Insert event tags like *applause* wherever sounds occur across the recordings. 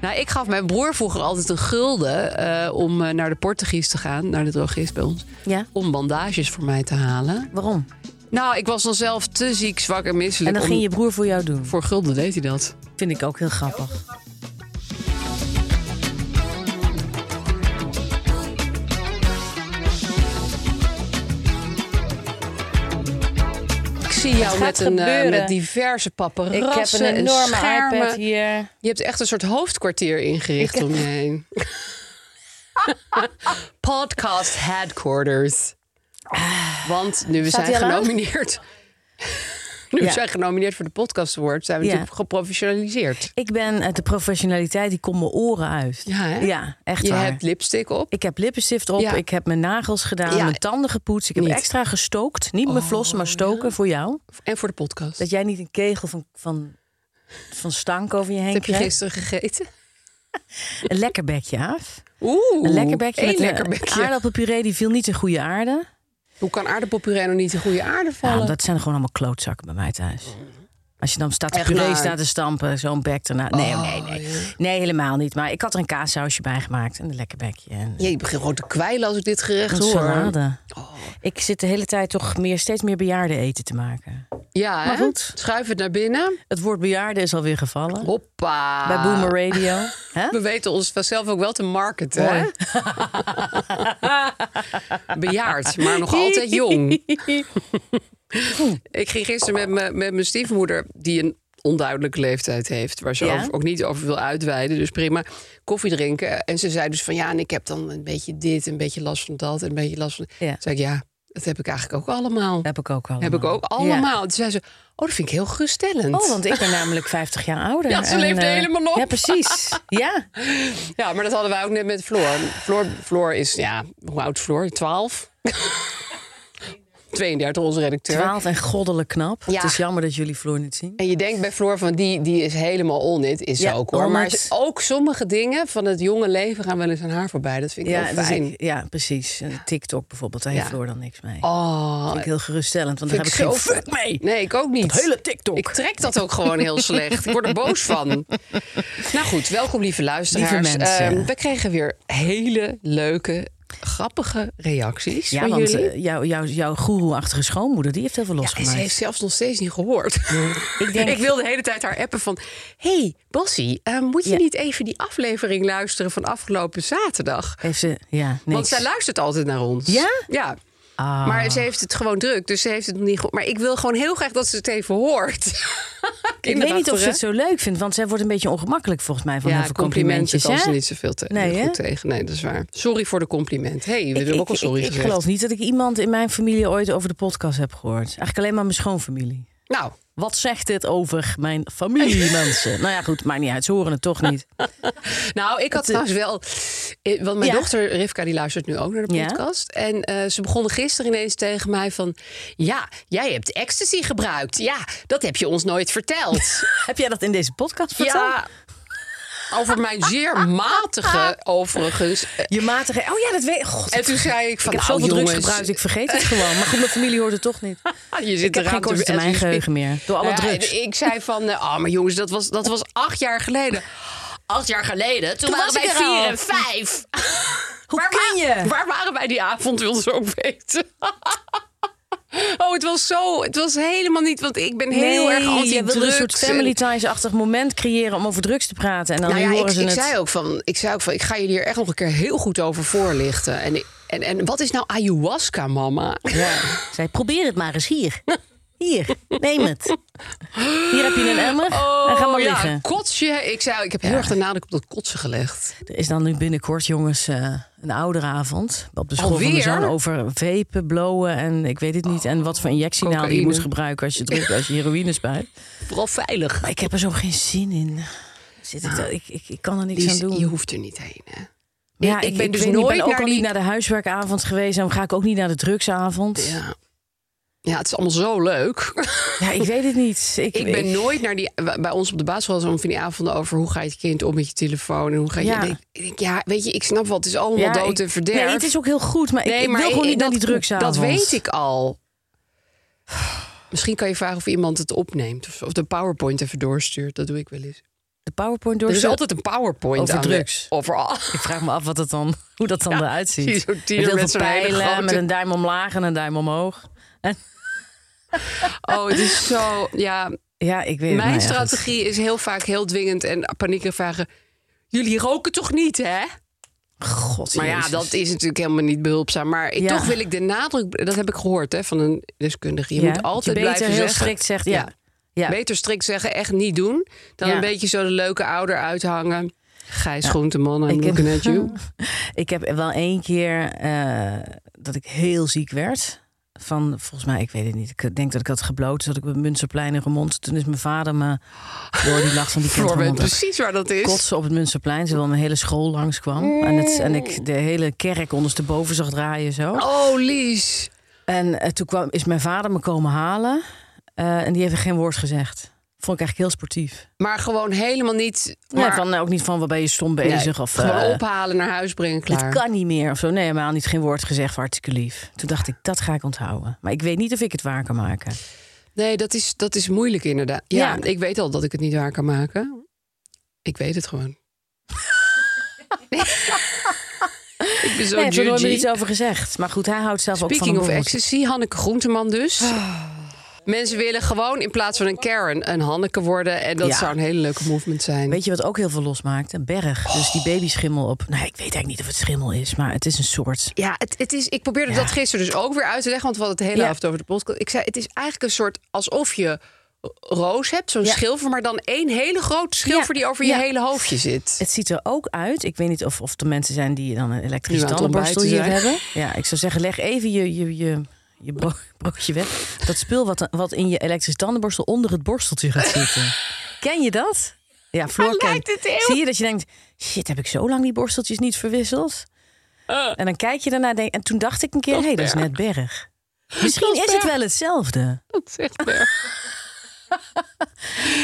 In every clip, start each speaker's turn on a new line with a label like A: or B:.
A: Nou, ik gaf mijn broer vroeger altijd een gulden eh, om eh, naar de Portugies te gaan, naar de drogist bij ons,
B: Ja,
A: om bandages voor mij te halen.
B: waarom?
A: Nou, ik was dan zelf te ziek, zwak en misselijk.
B: En dan
A: om-
B: ging je broer voor jou doen.
A: Voor gulden deed hij dat.
B: Vind ik ook heel grappig.
A: Ik zie jou
C: gaat
A: met, een, eh,
C: gebeuren.
A: met diverse
C: Ik
A: paparazzen
C: heb een
A: en
C: enorme
A: schermen.
C: iPad hier.
A: Je hebt echt een soort hoofdkwartier ingericht om je
B: *laughs*
A: heen. Podcast headquarters. Want nu we
C: Staat
A: zijn
C: die al aan?
A: genomineerd. *laughs* nu we
B: Ja.
A: zijn genomineerd voor de podcast award, zijn we
B: Ja.
A: natuurlijk geprofessionaliseerd.
B: Ik ben uit de professionaliteit, die komt mijn oren uit.
A: Ja, hè?
B: Ja, echt
A: Je
B: waar.
A: hebt lipstick op.
B: Ik heb lippenstift op,
A: Ja.
B: ik heb mijn nagels gedaan,
A: Ja.
B: mijn tanden gepoetst. Ik heb
A: Niet. Oh,
B: extra gestookt. Niet mijn flossen, maar stoken voor jou.
A: En voor de podcast.
B: Dat jij niet een kegel van, van, van stank over je heen
A: Wat heb je
B: krijgt.
A: gisteren gegeten?
B: Een lekker bekje af.
A: Oeh,
B: Een lekker bekje
A: één
B: met eh,
A: lekker
B: een
A: bekje.
B: aardappelpuree, die viel niet in goede aarde.
A: Hoe kan aardappelpuree nou niet in goede aarde vallen?
B: Ja, dat zijn gewoon allemaal klootzakken bij mij thuis. Als je dan staat te
A: Echt
B: puree
A: waar? Oh,
B: staat te stampen, zo'n bek daarna. Nee, nee, nee. Nee, helemaal niet. Maar ik had er een kaassausje bij gemaakt en een lekker bekje. En
A: Jee, ik begin gewoon te kwijlen als ik dit gerecht
B: een
A: hoor. Oh.
B: salade. Ik zit de hele tijd toch meer, steeds meer bejaarden eten te maken.
A: Ja,
B: Maar
A: hè?
B: goed.
A: Schuif het naar binnen.
B: Het woord bejaarden is alweer gevallen.
A: Hoppa.
B: Bij Boomer Radio.
A: *laughs*
B: Hè?
A: We weten ons vanzelf ook wel te marketen. Hè? *laughs* Bejaard, maar nog altijd
B: *laughs*
A: jong. ik ging gisteren met, mijn- met mijn stiefmoeder, die een onduidelijke leeftijd heeft, waar ze
B: Ja.
A: over- ook niet over wil uitweiden, dus prima, koffie drinken. En ze zei dus van ja, en ik heb dan een beetje dit, een beetje last van dat, een beetje last van.
B: Ja.
A: Toen zei ik ja, dat heb ik eigenlijk ook allemaal.
B: Heb ik ook allemaal.
A: Heb ik ook
B: Ja.
A: allemaal. Toen zei ze, oh, dat vind ik heel geruststellend.
B: Oh, want ik ben namelijk 50 jaar ouder.
A: Ja, ze
B: en,
A: leefde
B: eh,
A: helemaal op.
B: Ja, precies. Ja.
A: *laughs* Ja, maar dat hadden wij ook net met Floor. Floor, Floor is, ja, hoe oud is Floor? 12? 32, onze redacteur.
B: 12 en goddelijk knap.
A: Ja.
B: Het is jammer dat jullie Floor niet zien.
A: En je denkt bij Floor van, die, die is helemaal on it. Is
B: Ja,
A: ze ook hoor. Maar
B: honderd.
A: ze- ook sommige dingen van het jonge leven gaan wel eens aan haar voorbij. Dat vind ik
B: Ja,
A: wel
B: dus
A: fijn.
B: ik- ja, precies. En TikTok bijvoorbeeld, daar heeft
A: Ja.
B: Floor dan niks mee.
A: Oh,
B: Vind ik heel geruststellend, want daar
A: vind
B: heb ik
A: ik
B: geen
A: zo-
B: fuck mee.
A: nee, ik ook niet.
B: Dat hele TikTok.
A: Ik trek dat ook gewoon heel slecht. Ik word er boos van. Nou goed, welkom lieve luisteraars.
B: Lieve mensen.
A: Ehm, we kregen weer hele leuke, grappige reacties
B: Ja,
A: van
B: want
A: jullie.
B: eh, jouw, jouw, jouw goeroe-achtige schoonmoeder, die heeft heel veel
A: Ja, en ze
B: losgemaakt.
A: heeft zelfs nog steeds niet gehoord.
B: Ik
A: *laughs* Ik,
B: denk-
A: wil de hele tijd haar appen van... hey, Bassie, eh, moet je
B: Ja.
A: niet even die aflevering luisteren van afgelopen zaterdag?
B: Heeft ze, ja, niks. Ah.
A: Want zij luistert altijd naar ons.
B: Ja?
A: Ja. Maar ze heeft het gewoon druk, dus ze heeft het nog niet gehoord. Maar ik wil gewoon heel graag dat ze het even
B: *laughs*
A: hoort.
B: ik weet niet of ze het zo leuk vindt, want zij wordt een beetje ongemakkelijk volgens mij van
A: Ja,
B: heel veel
A: complimenten, kan
B: hè?
A: ze niet zoveel te,
B: Nee, hè?
A: goed tegen. Nee, dat is waar. Sorry voor de compliment. hey, we
B: ik,
A: hebben ook al
B: ik-
A: sorry
B: ik- ik
A: gezegd.
B: geloof niet dat ik iemand in mijn familie ooit over de podcast heb gehoord. Eigenlijk alleen maar mijn schoonfamilie.
A: Nou,
B: Wat zegt dit over mijn
A: *laughs*
B: familie, mensen? Nou ja, goed, maakt niet uit. Ze horen het toch niet.
A: Nou, ik had trouwens wel. eh, Want mijn
B: Ja.
A: dochter Rivka, die luistert nu ook naar de
B: Ja.
A: podcast. En eh, ze begon gisteren ineens tegen mij van. Ja, jij hebt ecstasy gebruikt. Ja, dat heb je ons nooit
B: *laughs*
A: verteld.
B: heb jij dat in deze podcast verteld?
A: ja. Over mijn zeer matige, overigens. eh,
B: Je matige. Oh ja, dat weet God,
A: En toen zei ik van.
B: Ik heb
A: nou,
B: zoveel drugs
A: jongens,
B: gebruikt, ik vergeet het gewoon. Maar goed, mijn familie hoort het toch *laughs* niet.
A: Ah, je zit
B: Ik heb
A: eraan
B: geen
A: te-
B: korte termijn geheugen meer. Door alle
A: Nou ja,
B: drugs.
A: en Ik zei van, eh, ah, maar jongens, dat was, dat was acht jaar geleden. Acht jaar geleden? Toen, waren
B: was
A: wij
B: ik er al.
A: vier en vijf.
B: *laughs* Hoe
A: waar,
B: kun
A: wa-
B: je?
A: Waar waren wij die avond, wilde ze ook weten. *laughs* Oh, het was zo. Het was helemaal niet, want ik ben heel erg anti-drugs.
B: je wilde een soort
A: en-
B: family ties-achtig moment creëren om over drugs te praten. En dan
A: nou ja,
B: horen
A: ik,
B: ze
A: ik
B: het.
A: zei ook van, ik zei ook van, ik ga jullie hier echt nog een keer heel goed over voorlichten.
B: *laughs*
A: En, en, en wat is nou ayahuasca, mama?
B: Ja. Zij probeer het maar eens hier. Hier, neem het. Hier heb je een emmer. en ga maar
A: Oh, ja,
B: liggen.
A: kotsje. Ik, zei, ik heb heel erg de nadruk op dat kotsen gelegd.
B: Er is dan nu binnenkort, jongens, eh, een ouderavond. Op de school van mijn
A: Alweer?
B: zoon over vepen, blowen en ik weet het niet. en wat voor injectienaal je
A: cocaïne.
B: moet gebruiken als je, druk, als je heroïne spuit.
A: Vooral veilig.
B: Maar ik heb er zo geen zin in. Zit ik, daar- ik, ik, ik kan er niks
A: Die
B: aan
A: is-
B: doen.
A: Dus je hoeft er niet heen. Hè?
B: Maar
A: ik- ik ben dus
B: weet niet,
A: nooit
B: ben ook
A: naar
B: al
A: die-
B: niet naar de huiswerkavond geweest. En ga ik ook niet naar de drugsavond. Ja,
A: Ja. ja, het is allemaal zo leuk. *laughs*
B: ik weet het niet. Ik,
A: Ik ben nooit naar die. Bij ons op de basisschool was allemaal van die avonden over hoe ga je het kind om met je telefoon en hoe ga je.
B: Ja.
A: Ja, ik denk, ja weet je, ik snap wat. Het is allemaal
B: Ja,
A: dood
B: ik-
A: en verderf.
B: Nee, het is ook heel goed. Maar, ik-
A: Nee,
B: ik, wil gewoon
A: eh,
B: niet naar die
A: dat-
B: drugsavond.
A: Dat weet ik al. *sighs* Misschien kan je vragen of iemand het opneemt of, of de PowerPoint even doorstuurt. Dat doe ik wel eens.
B: De PowerPoint door.
A: Er is altijd een PowerPoint
B: Over
A: aan de-
B: drugs.
A: Over al.
B: Ik vraag me af wat het dan, hoe dat dan
A: Ja,
B: eruit ziet.
A: zie je zo'n tiener
B: heel
A: met
B: veel
A: zo'n hele
B: pijlen,
A: grote-
B: met een duim omlaag en een duim omhoog.
A: *laughs* Oh, het is zo. Ja,
B: Ja, ik weet het.
A: mijn
B: Nou ja,
A: strategie is heel vaak heel dwingend en paniekerig vragen. Jullie roken toch niet, hè?
B: goed. God,
A: Maar ja,
B: Jezus.
A: dat is natuurlijk helemaal niet behulpzaam. Maar ik-
B: Ja.
A: toch wil ik de nadruk, dat heb ik gehoord hè, van een deskundige. Je
B: Ja,
A: moet
B: dat
A: altijd
B: je beter
A: blijven
B: heel
A: zeggen.
B: strikt zegt, ja. Ja.
A: Beter strikt zeggen, echt niet doen. Dan
B: Ja.
A: een beetje zo de leuke ouder uithangen. Gijs Groenteman, I'm
B: Ik heb-
A: looking
B: *laughs*
A: at you.
B: Ik heb wel één keer eh, dat ik heel ziek werd. Van, volgens mij, ik weet het niet. Ik denk dat ik had gebloten. Zat ik op het Munsterplein in Remond. Toen is mijn vader me door die lach
A: *laughs*
B: van die kind
A: Floor weet
B: Remond af-
A: precies waar dat is.
B: kotsen op het Munsterplein. Terwijl mijn hele school langskwam. En, het, en ik de hele kerk ondersteboven zag draaien zo.
A: Oh, Lies.
B: En eh, toen kwam, is mijn vader me komen halen. eh, en die heeft geen woord gezegd. Vond ik eigenlijk heel sportief.
A: Maar gewoon helemaal niet...
B: Maar,
A: Maar,
B: van, eh, ook niet van, wat ben je stom
A: Nee,
B: bezig? of,
A: gewoon
B: eh,
A: ophalen, naar huis brengen, klaar.
B: dit kan niet meer of zo. Nee, helemaal niet. Geen woord gezegd. Hartstikke lief. Toen dacht ik, dat ga ik onthouden. Maar ik weet niet of ik het waar kan maken.
A: Oh, Nee, dat is, dat is moeilijk inderdaad. Ja,
B: Ja.
A: ik weet al dat ik het niet waar kan maken. Ik weet het gewoon. *laughs* Nee. ik ben zo
B: nee, hij heeft er nooit meer
A: judgy.
B: iets over gezegd. Maar goed, hij houdt zelf ook
A: Speaking
B: van
A: of
B: een Ah. borreltje.
A: ecstasy, Hanneke Groenteman dus. Mensen willen gewoon in plaats van een Karen een Hanneke worden. En dat
B: Ja.
A: zou een hele leuke movement zijn.
B: Weet je wat ook heel veel losmaakt? Een berg. Dus
A: Oh.
B: die babyschimmel op... Nou, ik weet eigenlijk niet of het schimmel is, maar het is een soort...
A: Ja, het, het is, ik probeerde
B: Ja.
A: dat gisteren dus ook weer uit te leggen. Want we hadden het hele
B: Ja.
A: avond over de podcast. Ik zei, het is eigenlijk een soort alsof je roos hebt. Zo'n
B: Ja.
A: schilfer, maar dan één hele grote schilfer
B: Ja.
A: die over je
B: Ja.
A: hele hoofdje
B: *laughs*
A: zit.
B: Het ziet er ook uit. Ik weet niet of, of er mensen zijn die dan een elektrische
A: Nu aan het ontbijten
B: tandenborstel hier
A: zijn.
B: hebben. Ja, ik zou zeggen, leg even je, je, je, je bro- *laughs* broodje weg. Dat spul wat, wat in je elektrische tandenborstel onder het borsteltje gaat
A: *laughs*
B: zitten. Ken je dat? Ja, Floor
A: Hij
B: kent.
A: lijkt het heel-
B: Zie je dat je denkt, shit, heb ik zo lang die borsteltjes niet verwisseld?
A: Eh.
B: En dan kijk je daarna en denk, en toen dacht ik een keer, hé, hey, dat is net
A: *laughs*
B: berg. Misschien
A: is
B: is het
A: Berg.
B: wel hetzelfde.
A: Dat zegt Berg.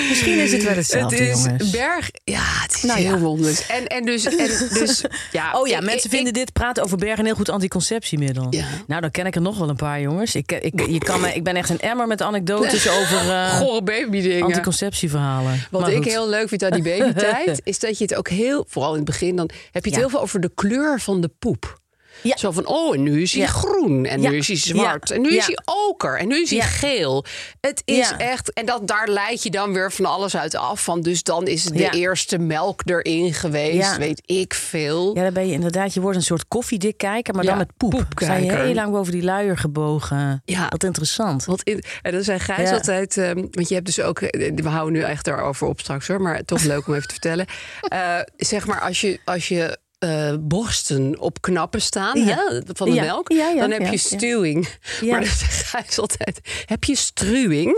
B: Misschien is het wel
A: Het
B: hetzelfde,
A: is
B: jongens.
A: Berg. Ja, het is
B: Nou ja.
A: heel wonderlijk. En, en dus, en dus ja,
B: Oh ja,
A: ik-
B: mensen
A: ik-
B: vinden dit praten over bergen een heel goed anticonceptiemiddel.
A: Ja.
B: Nou, dan ken ik er nog wel een paar jongens. Ik, eh, ik, je kan me, ik ben echt een emmer
A: *laughs*
B: met anekdotes over eh,
A: Gore baby dingen.
B: anticonceptieverhalen.
A: Wat
B: Maar
A: ik
B: goed.
A: heel leuk vind aan die babytijd, is dat je het ook heel, vooral in het begin, dan heb je het
B: Ja.
A: heel veel over de kleur van de poep.
B: Ja.
A: Zo van, oh, en nu is hij
B: Ja.
A: groen. En
B: Ja.
A: nu is hij zwart.
B: Ja.
A: En nu
B: Ja.
A: is hij oker. En nu is hij
B: Ja.
A: geel. Het is
B: Ja.
A: echt... En dat, daar leid je dan weer van alles uit af. Van, dus dan is de
B: Ja.
A: eerste melk erin geweest.
B: Ja.
A: Weet ik veel.
B: Ja, dan ben je inderdaad, je wordt een soort koffiedik-kijker, maar
A: Ja,
B: dan met poep.
A: poepkijker.
B: Sta je heel lang boven die luier gebogen.
A: Ja.
B: Wat interessant.
A: Want in, en dan zei Gijs
B: Ja.
A: altijd, ehm, want je hebt dus ook, eh, we houden nu echt daarover op straks hoor, maar toch leuk om even te
B: *laughs*
A: vertellen. Eh, zeg maar, als je, als je eh, borsten op knappen staan
B: Ja.
A: hè, van de
B: Ja.
A: melk,
B: Ja, ja,
A: dan heb
B: ja,
A: je
B: ja.
A: stuwing.
B: Ja.
A: Maar dan zegt Gijs altijd, heb je struwing?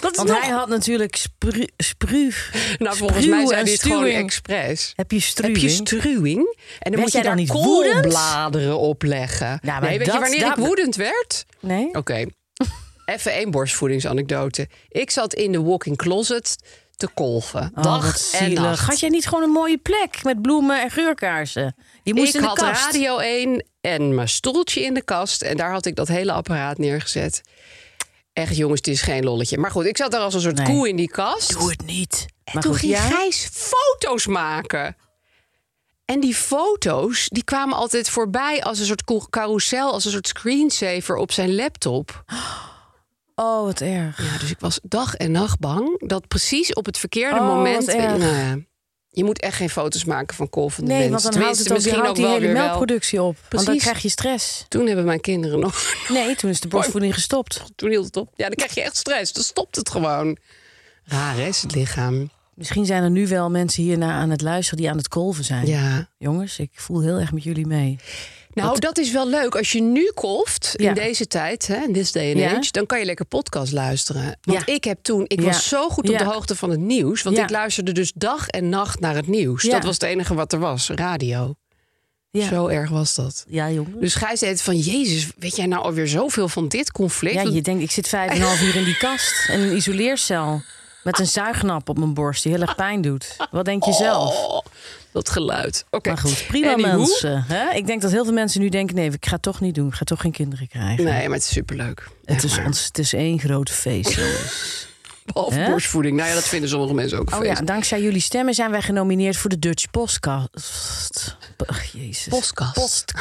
A: Dat is
B: Want
A: nog-
B: hij had natuurlijk spru... spru
A: nou, volgens
B: spruwen
A: mij zijn
B: en
A: dit gewoon
B: stuwing.
A: expres.
B: Heb je struwing?
A: Heb je struwing? En dan moet je
B: jij dan
A: daar
B: niet woedend? Nou,
A: koolbladeren op leggen.
B: maar
A: nee, weet je
B: dat-
A: wanneer
B: dat-
A: ik woedend werd?
B: Nee?
A: Oké. Even één borstvoedingsanekdote. Ik zat in de walk-in closet te kolven.
B: Oh, wat
A: dag en
B: zielig.
A: nacht.
B: Had jij niet gewoon een mooie plek met bloemen en geurkaarsen? Je moest
A: ik
B: in de
A: had
B: kast.
A: Radio 1 en mijn stoeltje in de kast. En daar had ik dat hele apparaat neergezet. Echt jongens, het is geen lolletje. Maar goed, ik zat daar als een soort
B: Nee.
A: koe in die kast.
B: Doe het niet.
A: En toen ging Gijs foto's maken. En die foto's die kwamen altijd voorbij als een soort ko- carousel, als een soort screensaver op zijn laptop.
B: Oh, wat erg.
A: Ja, dus ik was dag en nacht bang dat precies op het verkeerde
B: Oh, wat
A: moment.
B: erg.
A: Nou ja, Je moet echt geen foto's maken van kool van de
B: Nee,
A: mens.
B: want dan houdt
A: Tenminste,
B: het ook,
A: misschien
B: dan houdt
A: ook
B: die
A: wel
B: hele
A: weer wel.
B: melkproductie op. Want dan
A: Precies.
B: krijg je stress.
A: Toen hebben mijn kinderen nog. *laughs*
B: Nee, toen is de borstvoeding gestopt.
A: Toen hield het op. Ja, dan krijg je echt stress. Dan stopt het gewoon. Raar is het lichaam.
B: Misschien zijn er nu wel mensen hierna aan het luisteren die aan het kolven zijn.
A: Ja.
B: Jongens, ik voel heel erg met jullie mee.
A: Nou, dat is wel leuk. Als je nu kolft,
B: Ja.
A: in deze tijd, hè, in this day and
B: Ja.
A: age... dan kan je lekker podcast luisteren. Want
B: Ja.
A: ik heb toen... Ik
B: Ja.
A: was zo goed op
B: Ja.
A: de hoogte van het nieuws. Want
B: Ja.
A: ik luisterde dus dag en nacht naar het nieuws.
B: Ja.
A: Dat was het enige wat er was. Radio.
B: Ja,
A: Zo erg was dat.
B: ja jongens.
A: Dus Gijs zei het van... Jezus, weet jij nou alweer zoveel van dit conflict?
B: ja,
A: Want-
B: je denkt, ik zit vijf en een half uur in die kast. En een isoleercel. Met een zuignap op mijn borst die heel erg pijn doet. Wat denk je zelf?
A: Oh, dat geluid. Oké.
B: Maar goed, prima
A: Anywho.
B: mensen. Hè? Ik denk dat heel veel mensen nu denken... nee, ik ga het toch niet doen. Ik ga toch geen kinderen krijgen.
A: Nee, maar het is superleuk.
B: het,
A: Echt
B: is
A: waar.
B: ons, het is één groot feest, jongens.
A: Behalve
B: Hè?
A: borstvoeding. Nou ja, dat vinden sommige mensen ook
B: Oh ja,
A: feest.
B: dankzij jullie stemmen zijn wij genomineerd voor de Dutch Podcast. Ach, jezus.
A: Podcast.
B: *laughs* Post-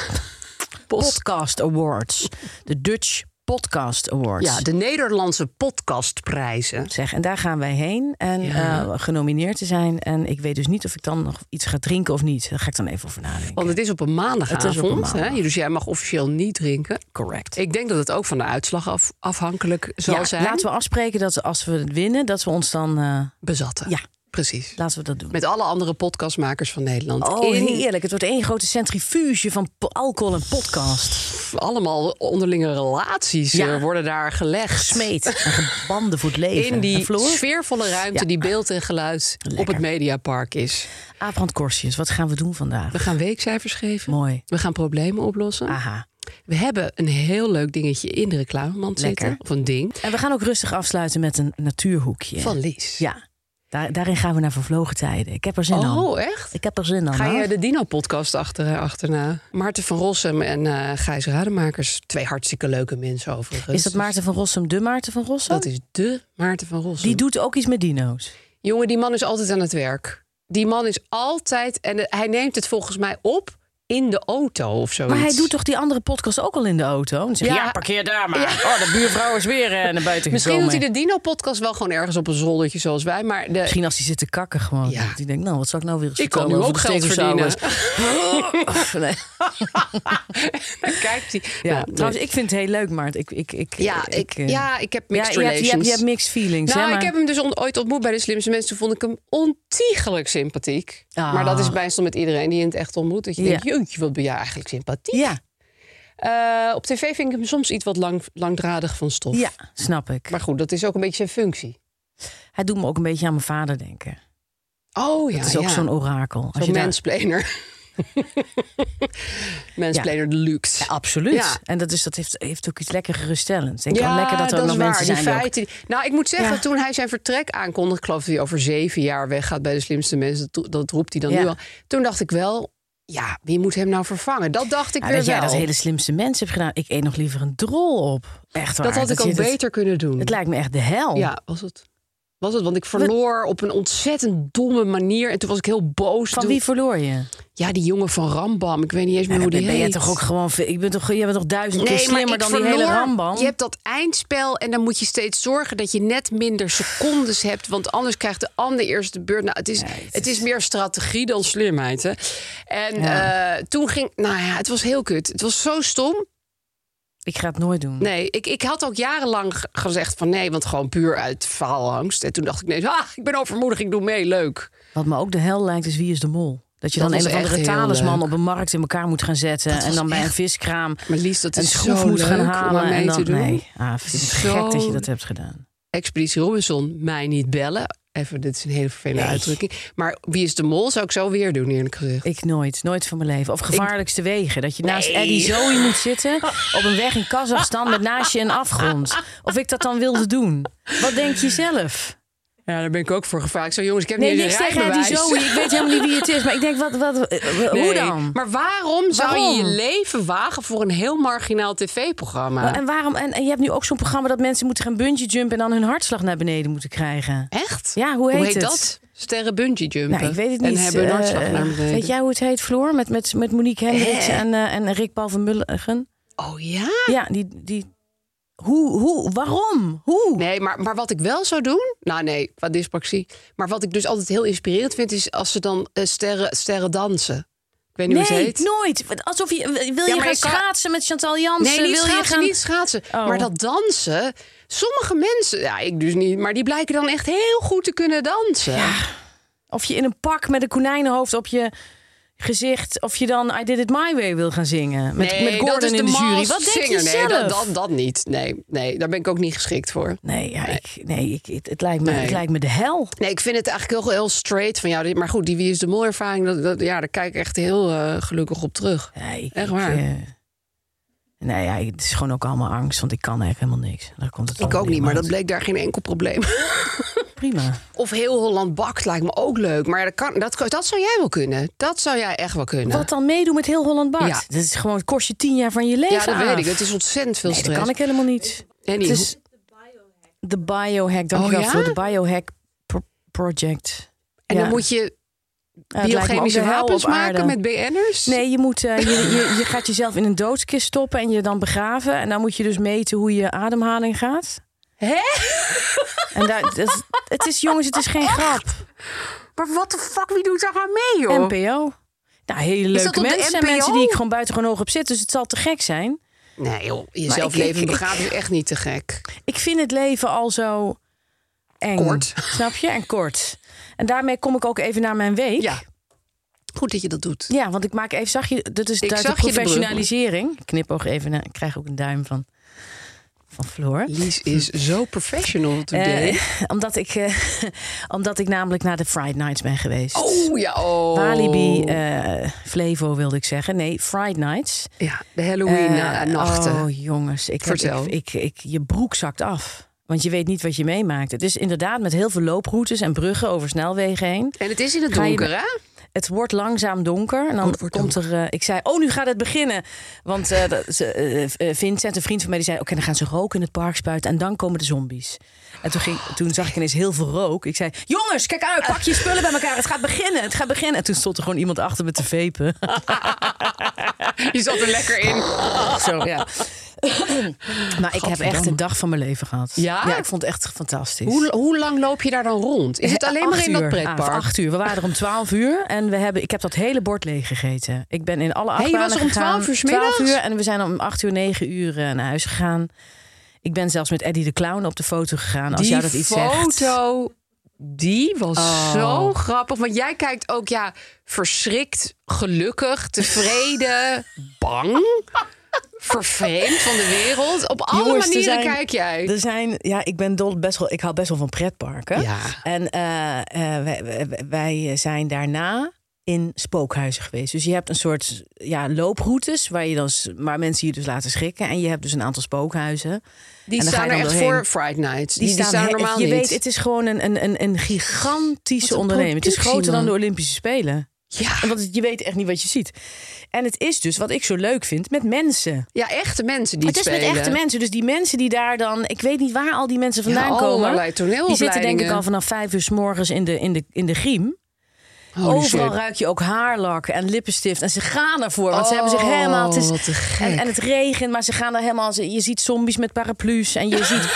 B: podcast Awards. De Dutch Podcast Awards.
A: Ja, de Nederlandse podcastprijzen.
B: Zeg, en daar gaan wij heen en
A: Ja.
B: eh, genomineerd te zijn. En ik weet dus niet of ik dan nog iets ga drinken of niet. Daar ga ik dan even over nadenken.
A: Want het is op een maandagavond.
B: Het is op een
A: Hè?
B: maandag.
A: Dus jij mag officieel niet drinken. Correct. Ik denk dat het ook van de uitslag af, afhankelijk zal
B: Ja,
A: zijn.
B: Laten we afspreken dat als we het winnen, dat we ons dan... eh,
A: Bezatten.
B: Ja.
A: Precies.
B: laten we dat doen.
A: Met alle andere podcastmakers van Nederland.
B: Oh,
A: In
B: heerlijk. Het wordt één grote centrifuge van po- alcohol en podcast.
A: allemaal onderlinge relaties
B: Ja.
A: eh, worden daar gelegd. *laughs*
B: Smeet. En gebanden voor het leven.
A: In
B: En
A: die
B: Floor?
A: sfeervolle ruimte
B: Ja.
A: die beeld en geluid op het Mediapark is.
B: Abrand Korsius, wat gaan we doen vandaag?
A: We gaan weekcijfers geven.
B: Mooi. Ah.
A: We gaan problemen oplossen.
B: Aha.
A: We hebben een heel leuk dingetje in de reclamemand
B: Lekker.
A: zitten. Of een ding.
B: En we gaan ook rustig afsluiten met een natuurhoekje.
A: Van Lies.
B: Ja, daar, daarin gaan we naar vervlogen tijden. Ik heb er zin aan.
A: Oh, echt?
B: Ik heb er zin aan.
A: Ga dus-
B: hoor.
A: je de Dino-podcast achter, eh, achterna? Maarten van Rossum en eh, Gijs Rademakers. Twee hartstikke leuke mensen overigens.
B: Is dat Maarten van Rossum de Maarten van Rossum?
A: Dat is de Maarten van Rossum.
B: Die doet ook iets met dino's.
A: Jongen, die man is altijd aan het werk. Die man is altijd... En eh, hij neemt het volgens mij op in de auto of zoiets.
B: Maar hij doet toch die andere podcast ook al in de auto? Dan zeg je,
A: Ja.
B: ja, parkeer daar maar. Oh, de buurvrouw is weer eh, naar buiten
A: Misschien
B: gekomen.
A: doet hij de Dino-podcast wel gewoon ergens op een zoldertje zoals wij. Maar de,
B: Misschien als hij zit te kakken gewoon.
A: Ja.
B: Die denkt, nou, wat zou ik nou weer eens
A: Ik kan nu
B: vertellen
A: ook
B: over de
A: geld verdienen.
B: stegosaurus? *laughs* nee.
A: *laughs* kijkt hij...
B: Ja,
A: Nou,
B: trouwens, ik vind het heel leuk, Maarten. Ik, ik, ik,
A: Ja, ik,
B: eh,
A: ja, ik heb mixed
B: ja, je hebt-
A: relations.
B: Je hebt, je hebt mixed feelings.
A: nou,
B: hè, maar...
A: ik heb hem dus on- ooit ontmoet bij de slimste mensen. Toen vond ik hem ontiegelijk sympathiek.
B: Ah.
A: Maar dat is bijna met iedereen die je in het echt ontmoet. Dat je
B: Ja.
A: denkt, jeetje, wat ben jij eigenlijk sympathiek.
B: Ja,
A: Eh, op tv vind ik hem soms iets wat lang, langdradig van stof.
B: ja, snap ik.
A: Maar goed, dat is ook een beetje zijn functie.
B: Hij doet me ook een beetje aan mijn vader denken.
A: Oh ja,
B: Het is ook
A: ja.
B: zo'n orakel. Als
A: Zo'n
B: daar-
A: mansplainer.
B: *laughs*
A: mansplainer deluxe.
B: Absoluut.
A: Ja.
B: En dat, is, dat heeft, heeft ook iets lekker geruststellends. Ik denk,
A: Ja,
B: oh, lekker dat er ook nog
A: is waar.
B: mensen
A: die
B: zijn. die ook-
A: feiten. die- Nou, ik moet zeggen,
B: Ja.
A: toen hij zijn vertrek aankondigde, ik geloof dat hij over zeven jaar weggaat bij de slimste mensen. Dat, dat roept hij dan
B: Ja.
A: nu al. Toen dacht ik wel, ja, wie moet hem nou vervangen? Dat dacht ik
B: Ja,
A: weer
B: dat jij
A: wel.
B: dat hele slimste mens hebt gedaan. Ik eet nog liever een drol op. Echt waar.
A: Dat had ik
B: je-
A: ook beter kunnen doen.
B: Het lijkt me echt de hel.
A: Ja, was het. Was het? Want ik verloor op een ontzettend domme manier. En toen was ik heel boos.
B: Van
A: Toen-
B: wie verloor je?
A: Ja, die jongen van Rambam. Ik weet niet eens meer
B: Ja,
A: hoe die
B: ben je
A: heet.
B: toch ook gewoon... ve- Ik ben toch, je bent toch duizend keer
A: maar
B: slimmer
A: ik
B: dan die
A: verloor.
B: hele rambam?
A: Je hebt dat eindspel en dan moet je steeds zorgen dat je net minder secondes hebt. Want anders krijgt de ander eerst de beurt. Nou, het, is, het, is meer strategie dan slimheid. Hè? En eh, toen ging. Nou ja, het was heel kut. Het was zo stom.
B: Ik ga het nooit doen.
A: Nee, ik, ik had ook jarenlang g- gezegd van nee, want gewoon puur uit faalangst. En toen dacht ik nee, ah, ik ben overmoedig, ik doe mee, leuk.
B: Wat me ook de hel lijkt is wie is de mol. Dat je
A: Dat
B: dan
A: was
B: een of andere
A: echt heel
B: talisman
A: leuk.
B: op een markt in elkaar moet gaan zetten. en
A: was
B: dan bij een
A: echt-
B: viskraam
A: Maar Lies, dat
B: een
A: is
B: schroef
A: zo
B: moet gaan
A: leuk om aan
B: halen.
A: mee
B: en dan,
A: te doen.
B: Nee, ah, vind ik het
A: Zo
B: gek dat je dat hebt gedaan.
A: Expeditie Robinson, mij niet bellen. Even, dit is een hele vervelende uitdrukking. Maar wie is de mol zou ik zo weer doen, eerlijk gezegd.
B: Ik nooit, nooit van mijn leven. Of gevaarlijkste wegen. Dat je naast
A: Nee.
B: Eddie Zoe moet *laughs* zitten op een weg in Kazachstan met naast je een afgrond. Of ik dat dan wilde doen. Wat denk je zelf?
A: Ja, daar ben ik ook voor gevraagd. Zo, jongens, ik heb
B: Nee,
A: niet eens
B: niks
A: een
B: tegen Eddie
A: rijbewijs.
B: Zoe. Ik weet helemaal niet wie het is. Maar ik denk, wat, wat, eh, hoe
A: Nee,
B: dan?
A: Maar waarom zou je je
B: Waarom?
A: leven wagen voor een heel marginaal tv-programma?
B: Oh, En waarom? En, en je hebt nu ook zo'n programma dat mensen moeten gaan bungee jumpen en dan hun hartslag naar beneden moeten krijgen.
A: Echt?
B: Ja, hoe heet het?
A: dat? Sterren bungee jumpen.
B: Nou, ik weet het niet.
A: En hebben een
B: Eh,
A: hartslag naar beneden.
B: Weet jij hoe het heet, Floor? Met, met, eh, met Monique Hendricks en, eh, en Rick Paul van Mulligen.
A: Oh ja?
B: Ja, die, die Hoe, hoe, waarom? Hoe?
A: Nee, maar, maar wat ik wel zou doen. Nou, nee, qua dyspraxie. Maar wat ik dus altijd heel inspirerend vind. is als ze dan eh, sterren, sterren dansen. Ik weet niet hoe ze
B: Nee,
A: heet.
B: nooit. Alsof je, wil
A: Ja,
B: je
A: maar
B: gaan
A: je kan-
B: schaatsen met Chantal Jansen?
A: Nee, niet
B: wil je
A: schaatsen,
B: gaan...
A: niet schaatsen.
B: Oh.
A: Maar dat dansen, sommige mensen, ja, ik dus niet, maar die blijken dan echt heel goed te kunnen dansen.
B: Of je in een pak met een konijnenhoofd op je gezicht... of je dan I Did It My Way wil gaan zingen. Met,
A: Nee,
B: met Gordon
A: dat is
B: in de, jury.
A: Masked
B: Wat denk
A: Singer.
B: je
A: nee,
B: zelf?
A: Dat, dat, dat niet. Nee, nee, daar ben ik ook niet geschikt voor.
B: Nee, ja, ik, nee ik, het, het lijkt me,
A: Nee.
B: het lijkt me de hel.
A: Nee, ik vind het eigenlijk heel, heel straight van jou. Maar goed, die Wie is de Mol ervaring, dat, dat- ja, daar kijk ik echt heel eh, gelukkig op terug.
B: Nee, ik,
A: Echt
B: ik,
A: waar.
B: eh, nee, ja, het is gewoon ook allemaal angst, want ik kan echt helemaal niks. Daar komt het
A: Ik
B: allemaal
A: ook niet, maar dat
B: uit.
A: bleek daar geen enkel probleem. *laughs*
B: prima.
A: Of heel Holland bakt lijkt me ook leuk. Maar dat, kan, dat, dat zou jij wel kunnen. Dat zou jij echt wel kunnen.
B: Wat dan meedoen met heel Holland Bart?
A: Ja.
B: Dat is gewoon, het kost je tien jaar van je leven
A: ja, dat
B: af.
A: weet ik. Het is ontzettend veel
B: Nee, dat
A: stress.
B: kan ik helemaal niet.
A: En
B: Het
A: die-
B: is de biohack, dankjewel
A: Oh, ja?
B: voor de biohack pro- project.
A: En
B: Ja.
A: dan moet je
B: Ja, het lijkt me ook de
A: biochemische
B: hel op
A: wapens
B: aarde.
A: maken met BN'ers?
B: Nee, je, moet, eh, je, je, je gaat jezelf in een doodskist stoppen en je dan begraven. En dan moet je dus meten hoe je ademhaling gaat.
A: Hè?
B: En daar, dat, het is, jongens, het is geen grap.
A: Maar what the fuck, wie doet daar aan mee,
B: NPO. Nou, hele
A: dat
B: leuke
A: op de
B: mensen. En
A: NPO?
B: mensen die ik gewoon buitengewoon hoog op zit. Dus het zal te gek zijn.
A: Nee, joh.
B: Maar
A: Jezelf
B: ik-
A: leven
B: ik-
A: begraven is echt niet te gek.
B: Ik vind het leven al zo eng.
A: Kort.
B: *laughs* Snap je? En kort. En daarmee kom ik ook even naar mijn week.
A: Ja. Goed dat je dat doet.
B: Ja, want ik maak even, zag je, dat is
A: Ik
B: daar de
A: zag je de brug.
B: professionalisering. Ik knipoog even, naar, ik krijg ook een duim van, van Floor.
A: Lies is zo professional today.
B: Eh, *laughs* omdat, ik, eh, omdat ik namelijk naar de Friday Nights ben geweest.
A: *laughs* oh, ja. Oh.
B: Walibi, eh, Flevo wilde ik zeggen. Nee, Friday Nights.
A: Ja, de Halloween-nachten.
B: Eh, Oh jongens, ik, heb,
A: Vertel.
B: ik, ik, ik- je broek zakt af. Want je weet niet wat je meemaakt. Het is inderdaad met heel veel looproutes en bruggen over snelwegen heen.
A: en het is in het
B: Ga je-
A: donker, hè?
B: Het wordt langzaam donker. En dan
A: het wordt
B: komt er. eh, ik zei, oh, nu gaat het beginnen. Want eh, dat- ze, eh, eh, Vincent, een vriend van mij, die zei: Oké, dan gaan ze rook in het park spuiten. En dan komen de zombies. En toen, ging, toen zag ik ineens heel veel rook. Ik zei: Jongens, kijk uit, pak je spullen bij elkaar. Het gaat beginnen. Het gaat beginnen. En toen stond er gewoon iemand achter met de vepen.
A: Je zat er lekker
B: *laughs*
A: in.
B: Zo, ja. *laughs* maar ik heb echt een dag van mijn leven gehad.
A: Ja?
B: ik vond het echt fantastisch.
A: Hoe, hoe lang loop je daar dan rond? Is het alleen maar
B: Acht
A: in dat
B: uur.
A: pretpark?
B: Ah, acht uur. We waren er om twaalf uur en we hebben, ik heb dat hele bord leeg gegeten. Ik ben in alle acht
A: Hey, je was er om 12 uur 's middags?
B: uur en we zijn om acht uur, negen uur eh, naar huis gegaan. Ik ben zelfs met Eddie de Clown op de foto gegaan. als
A: die
B: jou dat iets zegt. Oh.
A: foto, die was zo grappig. Want jij kijkt ook, ja, verschrikt, gelukkig,
B: *laughs*
A: tevreden, bang, vervreemd van de wereld. Op alle
B: Jongens, er
A: manieren
B: zijn-
A: kijk jij.
B: Er zijn, ja, ik ben dol, best wel, ik hou best wel van pretparken.
A: Ja.
B: En eh, eh, wij, wij- wij zijn daarna in spookhuizen geweest. Dus je hebt een soort ja, looproutes waar je dan, s- maar mensen je dus laten schrikken. En je hebt dus een aantal spookhuizen.
A: die
B: en dan ga
A: staan
B: je
A: er
B: dan
A: echt
B: doorheen.
A: voor Friday Nights. Die,
B: Die, staan, he-
A: normaal
B: Je
A: niet.
B: weet, het is gewoon een, een, een, een gigantische
A: Wat een
B: onderneming. Het is
A: productie,
B: groter dan
A: man.
B: de Olympische Spelen.
A: ja.
B: Want het- je weet echt niet wat je ziet. En het is dus, wat ik zo leuk vind, met mensen.
A: ja, echte mensen die
B: het is
A: spelen.
B: met echte mensen. Dus die mensen die daar dan... Ik weet niet waar al die mensen vandaan
A: Ja, allerlei
B: komen. Die
A: toneelopleidingen.
B: zitten denk ik al vanaf vijf uur s morgens in de, in de, in de griem.
A: Holy
B: Overal
A: shit.
B: ruik je ook haarlak en lippenstift. En ze gaan ervoor. Want ze hebben zich
A: Oh,
B: helemaal... Het is,
A: wat te gek.
B: En, en het regent, maar ze gaan er helemaal... ze- Je ziet zombies met paraplu's. En
A: *gasps*
B: je ziet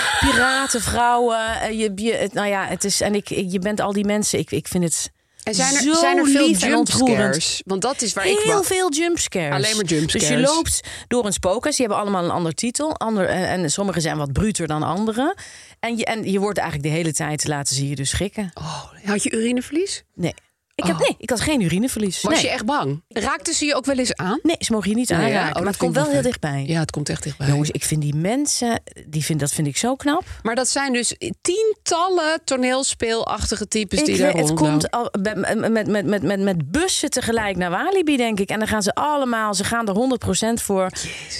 B: piratenvrouwen. En Je, je, het- nou ja, het is... En ik, ik- je bent al die mensen. Ik, ik vind het
A: En zijn er,
B: zo
A: zijn er veel
B: lief en ontroerend.
A: jumpscares? Want dat is waar ik...
B: Heel
A: wa-
B: veel jumpscares.
A: Alleen maar jumpscares.
B: Dus je loopt door een spookhuis. Die hebben allemaal een ander titel. Ander, eh, en, en sommige zijn wat bruter dan anderen. En je, en je wordt eigenlijk de hele tijd laten ze je dus schrikken.
A: Oh, had je urineverlies?
B: Nee. Ik, heb, nee, ik had geen urineverlies.
A: Was
B: nee.
A: je echt bang? Raakten ze je ook wel eens aan?
B: nee, ze mogen je niet
A: ja,
B: aanraken.
A: oh, dat
B: maar
A: vind
B: het komt
A: ik
B: wel
A: nog
B: heel
A: leuk.
B: dichtbij.
A: Ja, het komt echt dichtbij.
B: Jongens, ik vind die mensen, die vind, dat vind ik zo knap.
A: Maar dat zijn dus tientallen toneelspeelachtige types Dus die
B: Ik
A: daar
B: weet- het
A: rondlopen.
B: komt al, met, met, met, met, met, met bussen tegelijk naar Walibi, denk ik. En dan gaan ze allemaal, ze gaan er 100% voor.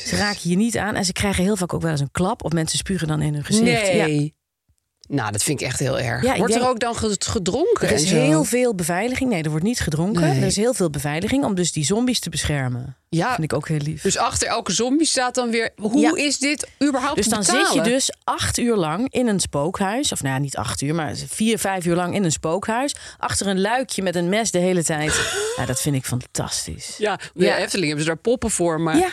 B: Ze raken je niet aan. En ze krijgen heel vaak ook wel eens een klap. Of mensen spugen dan in hun gezicht. Ja.
A: Nee. Nou, dat vind ik echt heel erg.
B: Ja, ik
A: Wordt er
B: denk-
A: ook dan ge- gedronken?
B: Er is
A: en zo?
B: heel veel beveiliging. Nee, er wordt niet gedronken.
A: Nee.
B: Er is heel veel beveiliging om dus die zombies te beschermen.
A: Ja.
B: Vind ik ook heel lief.
A: Dus achter elke zombie staat dan weer... Hoe
B: Ja.
A: is dit überhaupt
B: Dus
A: te
B: dan
A: betalen?
B: zit je dus acht uur lang in een spookhuis. Of nou ja, niet acht uur, maar vier, vijf uur lang in een spookhuis. Achter een luikje met een mes de
A: *laughs*
B: hele tijd. ja, dat vind ik fantastisch.
A: Ja, de
B: Ja.
A: Efteling hebben ze daar poppen voor, maar...
B: Ja.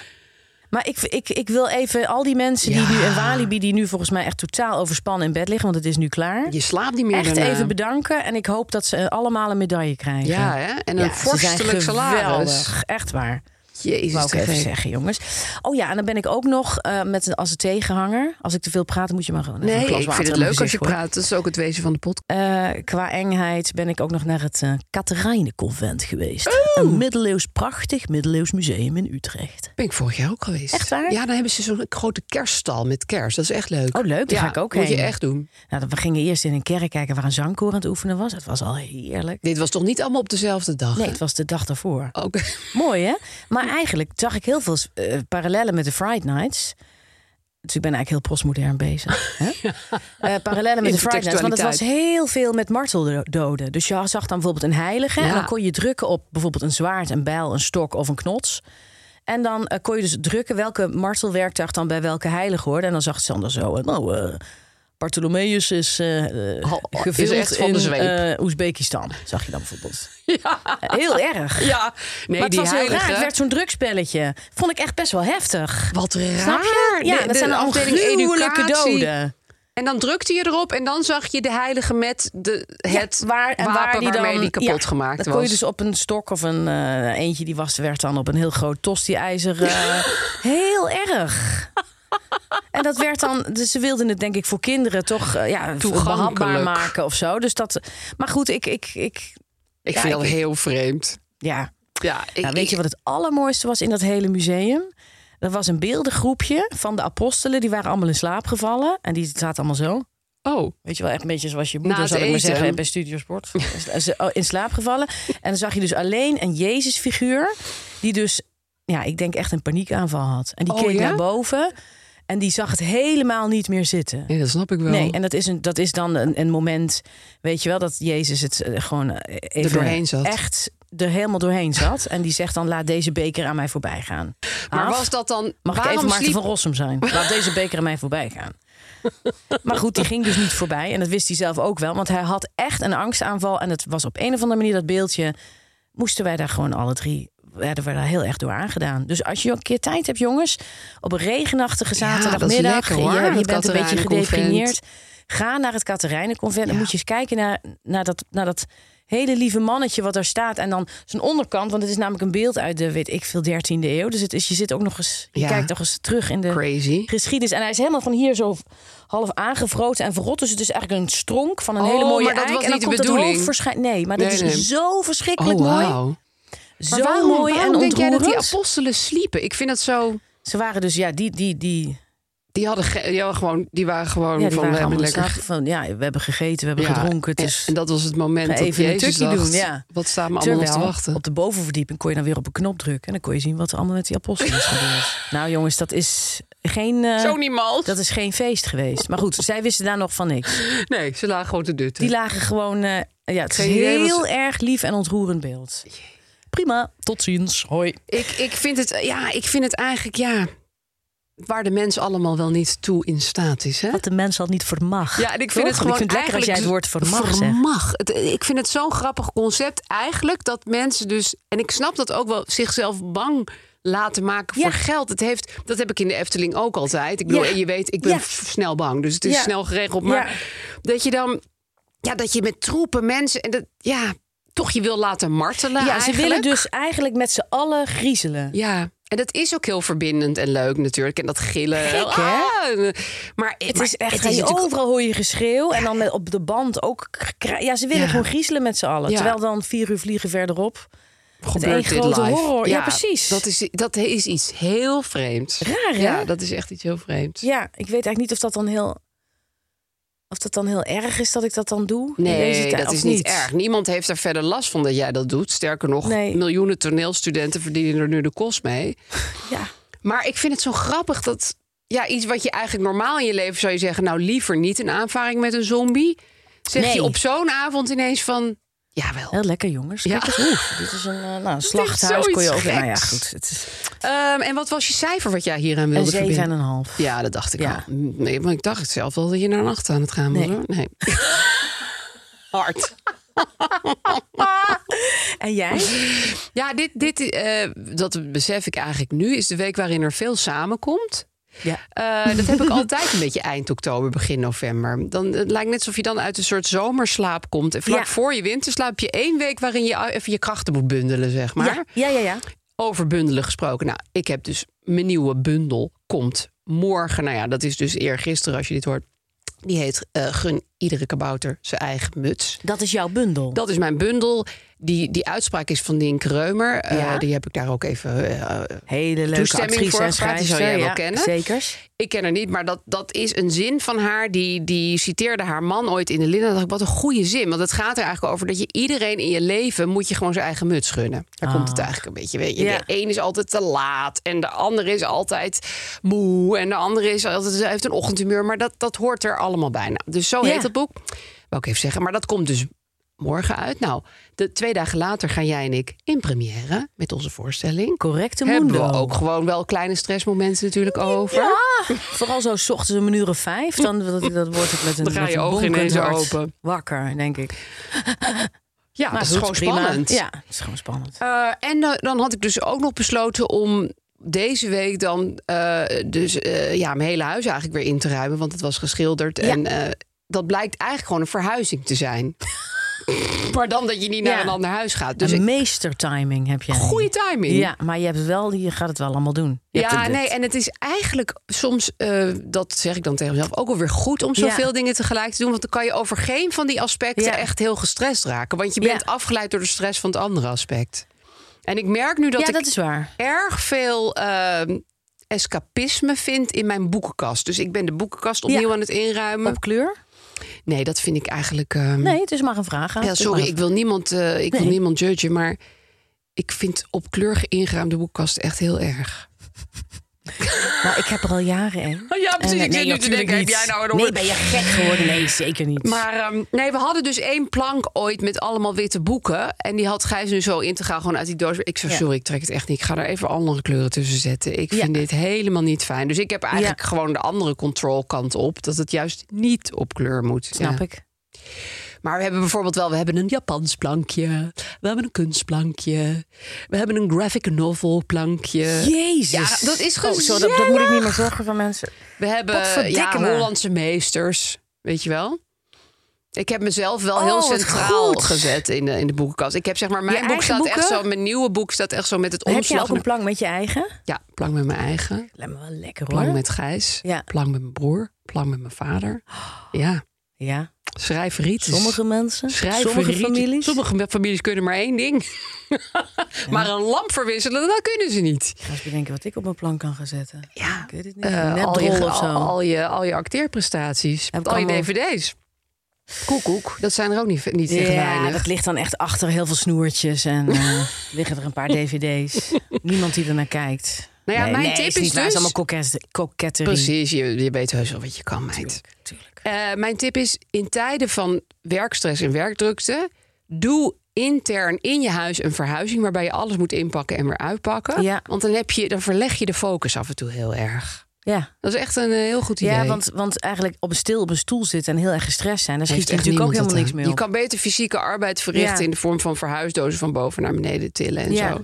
B: Maar ik, ik, ik wil even al die mensen die nu in Walibi... die nu volgens mij echt totaal overspannen in bed liggen... want het is nu klaar.
A: Je slaapt niet meer
B: Echt
A: daarna.
B: even bedanken. En ik hoop dat ze eh, allemaal een medaille krijgen.
A: Ja, hè? En een
B: Ja, ze zijn
A: vorstelijk salaris.
B: geweldig. Echt waar.
A: Jezus,
B: Wou ik
A: te
B: even
A: gek.
B: zeggen, jongens. Oh ja, en dan ben ik ook nog eh, met een, als een tegenhanger. Als ik te veel praat, moet je maar gewoon even een
A: Nee,
B: glas
A: ik
B: water
A: vind het
B: in mijn
A: leuk als je
B: gezicht gooien.
A: praat. Dat is ook het wezen van de podcast.
B: Eh, qua engheid ben ik ook nog naar het eh Katharijnenconvent geweest.
A: Oh!
B: Een middeleeuws, prachtig middeleeuws museum in Utrecht.
A: Ben ik vorig jaar ook geweest.
B: Echt waar?
A: Ja, dan hebben ze zo'n grote kerststal met kerst. Dat is echt leuk.
B: Oh, leuk. Daar
A: Ja,
B: ga ik ook
A: moet
B: heen.
A: je echt doen.
B: Nou, we gingen eerst in een kerk kijken waar een zangkoor aan het oefenen was. Het was al heerlijk.
A: Dit was toch niet allemaal op dezelfde dag?
B: Nee, het was de dag daarvoor.
A: Ook.
B: Mooi, hè? Maar eigenlijk zag ik heel veel eh, parallellen met de Friday Nights. Dus ik ben eigenlijk heel postmodern
A: *laughs*
B: bezig. Hè? Eh, parallellen met de Friday Nights. Want het was heel veel met marteldoden. Dus je zag dan bijvoorbeeld een heilige. En
A: Ja.
B: dan kon je drukken op bijvoorbeeld een zwaard, een bijl, een stok of een knots. En dan eh, kon je dus drukken welke martelwerktuig dan bij welke heilige hoorde. En dan zag Sander zo. eh, Nou, eh, Bartholomeus is eh,
A: Oh,
B: eh,
A: is
B: gevild
A: echt van de
B: in
A: zweep.
B: eh, Oezbekistan. Zag je dan
A: *laughs*
B: bijvoorbeeld. Eh, Heel erg
A: Ja, *laughs* nee,
B: maar het
A: die
B: was heel
A: heilige.
B: raar. Het werd zo'n drugspelletje. Vond ik echt best wel heftig.
A: Wat
B: Snap je?
A: raar.
B: Ja,
A: De-
B: dat
A: de
B: zijn allemaal
A: afdeling
B: gruwelijke
A: educatie.
B: doden.
A: En dan drukte je erop en dan zag je de heilige met de, het
B: Ja,
A: wapen waarmee die kapot gemaakt
B: dat
A: was.
B: kon je dus op een stok of een eh, eentje die was, werd dan op een heel groot tosti-ijzer.
A: *laughs*
B: eh, heel erg. En dat werd dan, dus ze wilden het denk ik voor kinderen toch eh, ja,
A: Toegankelijk.
B: behapbaar maken of zo. Dus dat, maar goed, ik, ik, ik
A: Ik
B: Ja,
A: vind
B: ik-
A: dat heel vreemd.
B: ja,
A: Ja, ik,
B: Nou, weet je
A: ik-
B: wat het allermooiste was in dat hele museum? Er was een beeldengroepje van de apostelen. Die waren allemaal in slaap gevallen. En die zaten allemaal zo.
A: Oh,
B: Weet je wel, echt een beetje zoals je moeder,
A: het
B: zou ik maar
A: eten.
B: zeggen, bij Studiosport. *laughs* Ze- oh, in slaap gevallen. En dan zag je dus alleen een Jezusfiguur. Die dus, ja, ik denk echt een paniekaanval had. En die
A: Oh,
B: keek
A: ja?
B: naar boven. En die zag het helemaal niet meer zitten.
A: nee, dat snap ik wel.
B: Nee, en dat is, een, dat is dan een, een moment, weet je wel, dat Jezus het eh, gewoon eh, even
A: doorheen zat.
B: echt er helemaal doorheen zat. En die zegt dan, laat deze beker aan mij voorbij gaan.
A: maar
B: Aaf,
A: was dat dan...
B: Mag ik
A: waarom
B: even Maarten
A: sliep-
B: van Rossum zijn? Laat deze beker aan mij voorbij
A: *laughs*
B: gaan. Maar goed, die ging dus niet voorbij. En dat wist hij zelf ook wel. Want hij had echt een angstaanval. En het was op een of andere manier dat beeldje. Moesten wij daar gewoon alle drie. werden we daar heel erg door aangedaan. Dus als je een keer tijd hebt, jongens. op een regenachtige
A: dat is
B: zaterdagmiddag.
A: lekker, hoor,
B: en je- je,
A: dat
B: bent een beetje
A: Katharijnenconvent.
B: gedeprimeerd. Ga naar het Katharijnenconvent. Dan moet je eens kijken naar, naar, dat, naar dat hele lieve mannetje wat daar staat. En dan zijn onderkant, want het is namelijk een beeld uit de, weet ik veel, 13e eeuw. Dus het is, je zit ook nog eens, je
A: Ja.
B: kijkt nog eens terug in de
A: Crazy.
B: geschiedenis. En hij is helemaal van hier zo half aangevroten en verrot. Dus het is eigenlijk een stronk van een
A: Oh,
B: hele mooie
A: maar dat
B: eik.
A: was
B: en dan
A: niet de
B: komt het
A: bedoeling.
B: hoofd verschijnen. Nee, maar dat
A: Nee, nee.
B: is zo verschrikkelijk mooi.
A: Oh, wauw.
B: Zo
A: Maar waarom,
B: mooi
A: waarom
B: en
A: denk jij dat die
B: ontroerend.
A: apostelen sliepen? Ik vind dat zo...
B: Ze waren dus, ja, die, die, die,
A: Die, hadden ge- die, hadden gewoon, die waren gewoon
B: ja, die
A: van...
B: waren
A: we hebben
B: allemaal
A: lekker
B: lekker... van, ja, we hebben gegeten, we hebben
A: Ja,
B: gedronken. Het
A: en-
B: is...
A: En dat was het moment
B: Ga
A: dat
B: even een
A: Jezus
B: tukje
A: dacht,
B: doen, ja.
A: wat staan we allemaal nog te
B: Terwijl,
A: wachten?
B: op de bovenverdieping kon je dan weer op een knop drukken... en dan kon je zien wat er allemaal met die apostelen is
A: *laughs*
B: gebeurd. Nou jongens, dat is geen... eh,
A: Zo niemand.
B: Dat is geen feest geweest. Maar goed, zij wisten daar nog van niks.
A: Nee, ze lagen gewoon te dutten.
B: Die lagen gewoon... eh, ja, het is
A: Geen idee wat
B: heel
A: ze-
B: erg lief en ontroerend beeld. Prima, tot ziens. Hoi.
A: Ik, ik, vind het, ja, ik vind het eigenlijk, ja, waar de mens allemaal wel niet toe in staat is. Hè?
B: Wat de mens al niet vermag.
A: Ja, en ik
B: Toch?
A: vind het
B: Want
A: gewoon
B: ik vind het lekker als jij het woord
A: eigenlijk dus
B: vermag zegt.
A: vermag. Het- ik vind het zo'n grappig concept eigenlijk dat mensen dus... En ik snap dat ook wel, zichzelf bang laten maken voor
B: Ja.
A: geld. Het heeft, dat heb ik in de Efteling ook altijd. Ik bedoel,
B: Ja.
A: en je weet, ik ben
B: Ja.
A: f- snel bang. Dus het is
B: Ja.
A: snel geregeld. Maar
B: Ja.
A: dat je dan... Ja, dat je met troepen mensen... En dat, ja, toch je wil laten martelen
B: Ja, ze
A: eigenlijk.
B: willen dus eigenlijk met z'n allen griezelen.
A: Ja, en dat is ook heel verbindend en leuk natuurlijk. En dat gillen.
B: Gek, hè?
A: Ah, en- maar
B: Het is echt,
A: het is natuurlijk-
B: overal hoor je geschreeuw. En dan met, op de band ook. gekra- Ja, ze willen
A: Ja.
B: gewoon griezelen met z'n allen.
A: Ja.
B: Terwijl dan vier uur vliegen verderop.
A: gebeurt
B: één
A: dit
B: grote
A: live.
B: horror. Ja, precies.
A: Dat is, dat is iets heel vreemds.
B: Raar, hè?
A: Ja, dat is echt iets heel vreemds.
B: Ja, ik weet eigenlijk niet of dat dan heel... Of dat dan heel erg is dat ik dat dan doe. in deze
A: Nee,
B: tijd,
A: dat
B: of
A: is niet, erg. Niemand heeft er verder last van dat jij dat doet. Sterker nog,
B: Nee.
A: miljoenen toneelstudenten verdienen er nu de kost mee.
B: Ja.
A: Maar ik vind het zo grappig dat... Ja, iets wat je eigenlijk normaal in je leven zou je zeggen... nou, liever niet een aanvaring met een zombie. Zeg
B: Nee.
A: je op zo'n avond ineens van... Jawel.
B: Heel lekker, jongens.
A: Ja.
B: Kijk eens, oeh, dit is een eh, nou, slachthuis.
A: zoiets
B: Kon je ook,
A: geks.
B: nou ja, goed. Het is
A: Ehm, en wat was je cijfer wat jij hieraan
B: een
A: wilde
B: zeven en
A: verbinden?
B: een half.
A: Ja, dat dacht ik
B: Ja.
A: al. Nee, maar ik dacht zelf wel dat je naar een acht aan het
B: *laughs*
A: gaan was.
B: Nee.
A: hoor. nee. Hard.
B: En jij?
A: Ja, dit, dit eh, dat besef ik eigenlijk nu, is de week waarin er veel samenkomt.
B: Ja.
A: Eh, dat heb ik altijd een beetje eind oktober, begin november. Dan, het lijkt net alsof je dan uit een soort zomerslaap komt. En vlak
B: Ja.
A: voor je winterslaap heb je één week waarin je even je krachten moet bundelen, zeg maar.
B: Ja, ja, ja. ja.
A: Over bundelen gesproken. Nou, ik heb dus mijn nieuwe bundel komt morgen. Nou ja, dat is dus eergisteren als je dit hoort. Die heet eh, Gun iedere kabouter zijn eigen muts.
B: Dat is jouw bundel.
A: Dat is mijn bundel. Die, die uitspraak is van Dink Reumer. Eh,
B: Ja?
A: die heb ik daar ook even. eh,
B: Hele leuke
A: Toestemming
B: actrice
A: voor
B: en
A: gevraagd, die
B: schrijfster.
A: zou jij wel
B: ja,
A: kennen.
B: Zekers.
A: ik ken haar niet, maar dat, dat is een zin van haar. Die, die citeerde haar man ooit in de Linda. Dacht ik, wat een goede zin. Want het gaat er eigenlijk over dat je iedereen in je leven moet je gewoon zijn eigen muts gunnen. Daar komt het eigenlijk een beetje. Weet je.
B: Ah. Ja.
A: De een is altijd te laat en de ander is altijd moe en de andere is altijd heeft een ochtendhumeur. Maar dat, dat hoort er allemaal bij. Nou, dus zo
B: Ja.
A: heet het boek. Wou ik even zeggen. Maar dat komt dus morgen uit. Nou, de twee dagen later gaan jij en ik in première met onze voorstelling.
B: Correcte
A: Hebben
B: mundo.
A: we ook gewoon wel kleine stressmomenten natuurlijk over.
B: Ja, vooral zo 's ochtends om een uur of vijf. Dan dat, dat wordt het met een,
A: Dan gaan
B: met
A: je
B: een
A: ogen ineens
B: bonkend hart
A: open.
B: wakker, denk ik.
A: Ja,
B: Maar
A: dat is
B: goed,
A: gewoon
B: prima.
A: spannend.
B: Ja, dat is gewoon spannend.
A: Eh, en eh, dan had ik dus ook nog besloten om deze week dan eh, dus, eh, ja, mijn hele huis eigenlijk weer in te ruimen. Want het was geschilderd. En eh, dat blijkt eigenlijk gewoon een verhuizing te zijn. *laughs* maar dan dat je niet naar
B: Ja.
A: een ander huis gaat. Dus
B: een
A: ik,
B: meestertiming heb jij.
A: goede timing.
B: Ja, maar je, hebt het wel, je gaat het wel allemaal doen. Je hebt
A: Ja,
B: het-
A: nee, en het is eigenlijk soms, eh, dat zeg ik dan tegen mezelf, ook alweer goed om zoveel
B: Ja.
A: dingen tegelijk te doen. Want dan kan je over geen van die aspecten
B: Ja.
A: echt heel gestrest raken. Want je
B: Ja.
A: bent afgeleid door de stress van het andere aspect. En ik merk nu dat
B: ja,
A: ik
B: dat is waar.
A: erg veel ehm, escapisme vind in mijn boekenkast. Dus ik ben de boekenkast opnieuw
B: Ja.
A: aan het inruimen.
B: Op kleur?
A: Nee, dat vind ik eigenlijk. ehm,
B: Nee, het is maar een vraag. hè.
A: ja,
B: Het is
A: sorry,
B: maar
A: ik
B: een-
A: wil niemand, eh, ik wil
B: Nee.
A: niemand judgen, maar ik vind op kleur ingeruimde boekenkast echt heel erg.
B: Nou, ik heb er al jaren in.
A: Oh *laughs* ja, precies.
B: En, eh,
A: Ik zit
B: nee,
A: nu te
B: natuurlijk
A: denken, heb
B: niet.
A: jij nou een
B: Nee,
A: oor-
B: ben je gek geworden? Nee, zeker niet.
A: Maar ehm, nee, we hadden dus één plank ooit met allemaal witte boeken. En die had Gijs nu zo integraal gewoon uit die doos. Ik zei,
B: Ja.
A: sorry, ik trek het echt niet. Ik ga daar even andere kleuren tussen zetten. Ik
B: Ja.
A: vind dit helemaal niet fijn. Dus ik heb eigenlijk gewoon de andere control kant op. Dat het juist niet op kleur moet.
B: Snap
A: Ja.
B: ik.
A: Maar we hebben bijvoorbeeld wel, we hebben een Japans plankje. We hebben een kunstplankje. We hebben een graphic novel plankje.
B: Jezus.
A: Eh, Ja, dat is
B: Oh, zo, dat, dat moet ik niet meer zeggen van mensen.
A: We hebben
B: Potverdikke
A: ja,
B: me.
A: Hollandse meesters, weet je wel? Ik heb mezelf wel heel
B: Oh, wat
A: centraal
B: goed.
A: gezet in de, in de boekenkast. Ik heb zeg maar, mijn boek
B: eigen
A: staat echt
B: boeken?
A: zo, mijn nieuwe boek staat echt zo met het
B: Heb jij
A: omslag.
B: ook een plank met je eigen?
A: Ja, plank met mijn eigen,
B: Lijkt me wel lekker hoor.
A: plank met Gijs,
B: Ja.
A: plank met mijn broer, plank met mijn vader. Ja,
B: Ja,
A: schrijfriet.
B: sommige mensen, sommige families.
A: Sommige families kunnen maar één ding.
B: *laughs*
A: maar een lamp verwisselen, dat kunnen ze niet.
B: Ga eens bedenken wat ik op mijn plank kan gaan zetten.
A: Ja,
B: Ik weet het niet.
A: eh,
B: Net
A: al, je,
B: rol of zo.
A: al, al je, al je acteerprestaties,
B: Heb ik
A: al je
B: allemaal.
A: dvd's. Koekoek, dat zijn er ook niet, niet tegen
B: ja,
A: weinig.
B: dat ligt dan echt achter heel veel snoertjes en *laughs* eh, liggen er een paar dvd's. Niemand die ernaar kijkt.
A: Nou ja,
B: Nee,
A: mijn
B: nee,
A: tip
B: is
A: is,
B: niet waar.
A: dus...
B: Het is allemaal kokette- koketterie.
A: Precies, je, je weet heus wel wat je kan, meid.
B: Tuurlijk.
A: Eh, mijn tip is, in tijden van werkstress en werkdrukte... doe intern in je huis een verhuizing... waarbij je alles moet inpakken en weer uitpakken.
B: Ja.
A: Want dan, heb je, dan verleg je de focus af en toe heel erg.
B: Ja.
A: Dat is echt een eh, heel goed idee.
B: Ja, want, want eigenlijk op een stil op een stoel zitten en heel erg gestrest zijn, daar schiet
A: Heeft
B: je
A: echt
B: natuurlijk ook
A: niemand
B: helemaal niks
A: wat aan.
B: meer op.
A: Je kan beter fysieke arbeid verrichten
B: Ja.
A: in de vorm van verhuisdozen van boven naar beneden tillen en
B: Ja.
A: zo.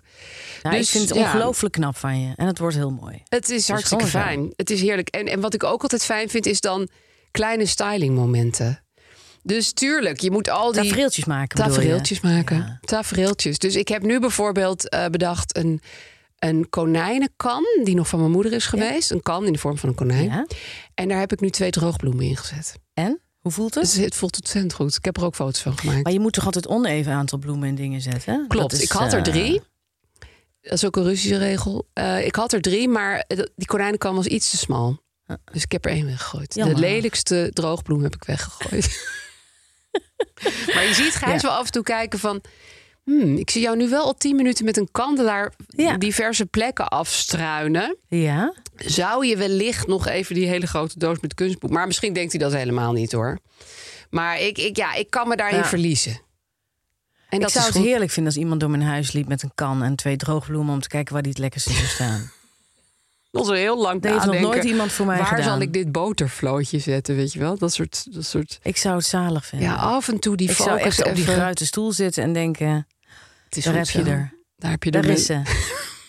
B: Nou,
A: dus,
B: ik vind het
A: ja.
B: ongelooflijk knap van je en het wordt heel mooi.
A: Het is hartstikke
B: gewoon zo.
A: fijn. Het is heerlijk. En, en wat ik ook altijd fijn vind, is dan kleine stylingmomenten. Dus tuurlijk, je moet al die
B: Tafereeltjes maken bedoel je?
A: tafereeltjes maken. Tafereeltjes. Dus ik heb nu bijvoorbeeld eh, bedacht een, een konijnenkan, die nog van mijn moeder is geweest. Een kan in de vorm van een konijn.
B: Ja.
A: En daar heb ik nu twee droogbloemen in gezet.
B: En? Hoe voelt het?
A: Dus het voelt ontzettend goed. Ik heb er ook foto's van gemaakt.
B: Maar je moet toch altijd oneven aantal bloemen en dingen zetten? Dat
A: Klopt,
B: is,
A: ik had er
B: eh,
A: drie. Dat is ook een Russische regel. Eh, ik had er drie, maar dat- die konijnenkam was iets te smal. Dus ik heb er één weggegooid.
B: Jammer.
A: De lelijkste droogbloem heb ik weggegooid. *laughs* maar je ziet Gijs
B: Ja.
A: wel af en toe kijken van... "Hmm, ik zie jou nu wel al tien minuten met een kandelaar
B: Ja.
A: diverse plekken afstruinen.
B: Ja?
A: Zou je wellicht nog even die hele grote doos met kunstboek... Maar misschien denkt hij dat helemaal niet hoor. Maar ik, ik, ja, ik kan me daarin
B: Ja.
A: verliezen. En
B: ik zou
A: is
B: het
A: goed.
B: heerlijk vinden als iemand door mijn huis liep met een kan en twee droogbloemen om te kijken waar die het lekkerste zou *laughs* staan.
A: Dat was heel lang
B: Dat heeft nog
A: nadenken.
B: nooit iemand voor mij
A: Waar
B: gedaan.
A: zal ik dit botervlootje zetten, weet je wel? Dat soort... Dat soort...
B: Ik zou het zalig vinden.
A: Ja, af en toe die
B: ik zou
A: focus
B: echt op die
A: even-
B: geruite stoel zitten en denken:
A: Het is
B: Daar
A: goed
B: heb je
A: zo.
B: er.
A: Daar heb je
B: Daar
A: er
B: is
A: met, *laughs*
B: ze. Oh,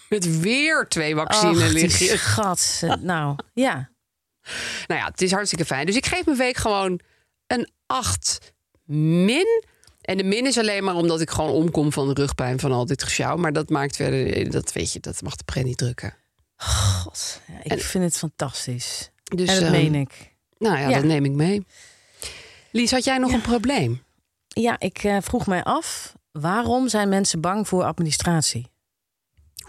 A: met weer twee vaccinen
B: Ach, die
A: liggen.
B: gat. Nou, ja.
A: *laughs* Nou ja, het is hartstikke fijn. Dus ik geef mijn week gewoon een 8 min. En de min is alleen maar omdat ik gewoon omkom van de rugpijn van al dit gesjouw. Maar dat maakt verder, dat weet je, dat mag de pret niet drukken.
B: God, ja, ik vind het fantastisch.
A: Dus,
B: en dat
A: eh,
B: meen ik.
A: Nou ja,
B: Ja.
A: dat neem ik mee. Lies, had jij nog een probleem?
B: Ja, ik eh, vroeg mij af, waarom zijn mensen bang voor administratie?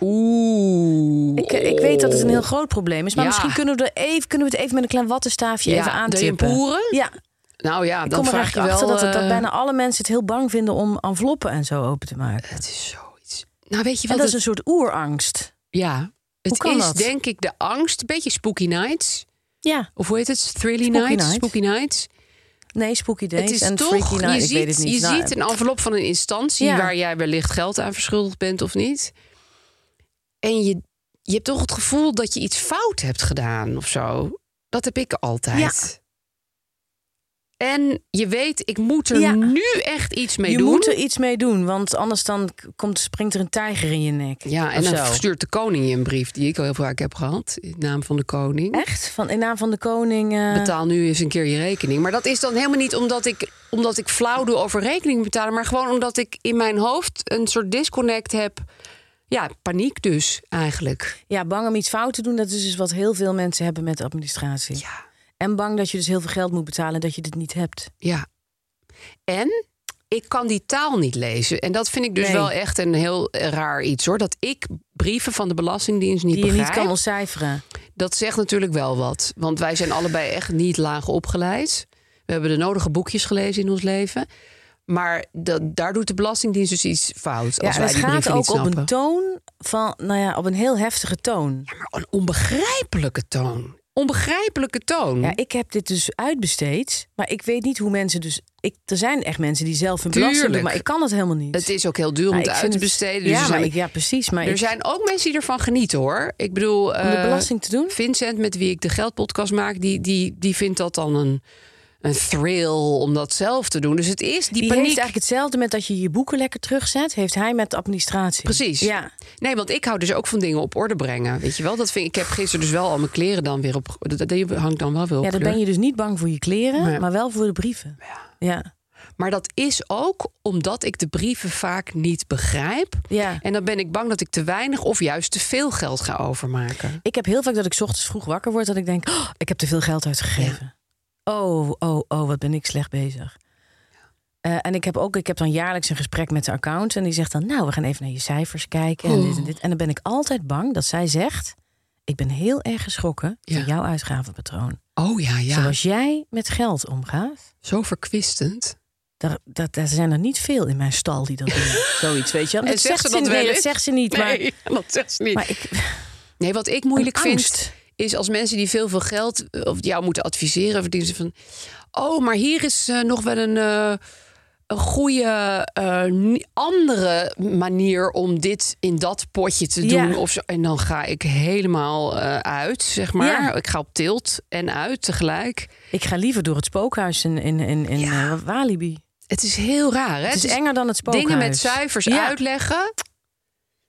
A: Oeh.
B: Ik, eh, ik weet dat het een heel groot probleem is, maar
A: Ja.
B: misschien kunnen we, er even, kunnen we het even met een klein wattenstaafje
A: Ja,
B: even
A: de
B: aantippen.
A: impoeren?
B: Ja,
A: Nou ja,
B: ik
A: dan
B: kom er
A: vraag je
B: eigenlijk
A: wel.
B: achter dat, het- dat
A: eh,
B: bijna alle mensen het heel bang vinden om enveloppen en zo open te maken.
A: Het is zoiets. Nou, weet je
B: En
A: wat?
B: dat is
A: het-
B: een soort oerangst.
A: Ja, het
B: kan
A: is
B: dat?
A: denk ik de angst. Beetje spooky nights.
B: Ja,
A: Of hoe heet het? Thrilly
B: Spooky
A: nights.
B: night.
A: Spooky nights.
B: nee, spooky days
A: Het is
B: en
A: toch,
B: freaky night,
A: je,
B: ik
A: ziet,
B: weet het niet.
A: je
B: Nou,
A: ziet een envelop van een instantie
B: Ja.
A: waar jij wellicht geld aan verschuldigd bent of niet. En je, je hebt toch het gevoel dat je iets fout hebt gedaan of zo. Dat heb ik altijd. En je weet, ik moet er
B: Ja.
A: nu echt iets mee
B: je
A: doen.
B: moet er iets mee doen, want anders dan k- komt, springt er een tijger in je nek.
A: Ja, en
B: Of
A: dan
B: zo.
A: stuurt de koning je een brief die ik al heel vaak heb gehad. In naam van de koning.
B: Echt? Van, in naam van de koning... eh,
A: Betaal nu eens een keer je rekening. Maar dat is dan helemaal niet omdat ik, omdat ik flauw doe over rekening betalen. Maar gewoon omdat ik in mijn hoofd een soort disconnect heb. Ja, paniek dus eigenlijk.
B: Ja, bang om iets fout te doen, dat is dus wat heel veel mensen hebben met administratie.
A: Ja.
B: En bang dat je dus heel veel geld moet betalen en dat je dit niet hebt.
A: ja. En ik kan die taal niet lezen. En dat vind ik dus
B: Nee.
A: wel echt een heel eh, raar iets hoor. Dat ik brieven van de Belastingdienst niet
B: Die je
A: begrijp.
B: niet kan ontcijferen.
A: Dat zegt natuurlijk wel wat. Want wij zijn allebei echt niet laag opgeleid. We hebben de nodige boekjes gelezen in ons leven. Maar dat, daar doet de Belastingdienst dus iets fout.
B: Ja,
A: als
B: en
A: wij
B: het
A: die
B: gaat
A: brieven niet
B: ook op
A: snappen.
B: een toon van, nou ja, op een heel heftige toon.
A: Ja, maar een onbegrijpelijke toon. Onbegrijpelijke toon.
B: Ja, ik heb dit dus uitbesteed, maar ik weet niet hoe mensen dus. Ik, er zijn echt mensen die zelf een belasting doen,
A: Tuurlijk.
B: maar ik kan dat helemaal niet.
A: het is ook heel duur om
B: Nou,
A: het
B: ik
A: uit
B: vind
A: te
B: het-
A: besteden. Dus
B: ja,
A: er,
B: maar
A: zijn,
B: ik- ja, precies. Maar
A: er
B: ik-
A: zijn ook mensen die ervan genieten hoor. Ik bedoel,
B: om de
A: eh,
B: belasting te doen?
A: Vincent, met wie ik de geldpodcast maak, die, die, die vindt dat dan een, een thrill om dat zelf te doen. Dus het is die,
B: Die
A: paniek.
B: heeft eigenlijk hetzelfde met dat je je boeken lekker terugzet, heeft hij met de administratie.
A: Precies.
B: Ja.
A: Nee, want ik hou dus ook van dingen op orde brengen. Weet je wel, dat vind ik. Ik heb gisteren dus wel al mijn kleren dan weer op. Dat dat hangt dan wel weer op.
B: Ja, dan
A: kleur.
B: ben je dus niet bang voor je kleren,
A: Nee.
B: maar wel voor de brieven. Ja. Ja.
A: Maar dat is ook omdat ik de brieven vaak niet begrijp.
B: Ja.
A: En dan ben ik bang dat ik te weinig of juist te veel geld ga overmaken.
B: Ik heb heel vaak dat ik 's ochtends vroeg wakker word dat ik denk, "Oh, ik heb te veel geld uitgegeven. Oh, oh, oh, wat ben ik slecht bezig. Eh, en ik heb ook, ik heb dan jaarlijks een gesprek met de account en die zegt dan, nou, we gaan even naar je cijfers kijken en
A: Oh.
B: dit en dit. En dan ben ik altijd bang dat zij zegt, ik ben heel erg geschrokken
A: Ja.
B: van jouw uitgavenpatroon.
A: Oh ja, ja.
B: Zoals jij met geld omgaat.
A: Zo verkwistend.
B: Daar, daar, daar zijn er niet veel in mijn stal die dat doen.
A: *laughs*
B: Zoiets, weet je. wel.
A: en zegt ze dat
B: niet,
A: wel
B: nee, dat
A: eens?
B: zegt ze niet. Maar,
A: Nee, *laughs* dat zegt ze niet.
B: maar ik,
A: Nee, wat ik moeilijk
B: Een
A: vind
B: angst.
A: is als mensen die veel veel geld eh, of jou moeten adviseren verdienen ze van oh, maar hier is eh, nog wel een eh, een goede eh, ni- andere manier om dit in dat potje te
B: Ja.
A: doen of zo. En dan ga ik helemaal eh, uit, zeg maar.
B: Ja.
A: Ik ga op tilt en uit tegelijk.
B: ik ga liever door het spookhuis in, in, in, in
A: Ja.
B: eh, Walibi.
A: Het is heel raar, hè? Dus
B: Het is enger dan het spookhuis.
A: Dingen met cijfers
B: Ja.
A: uitleggen.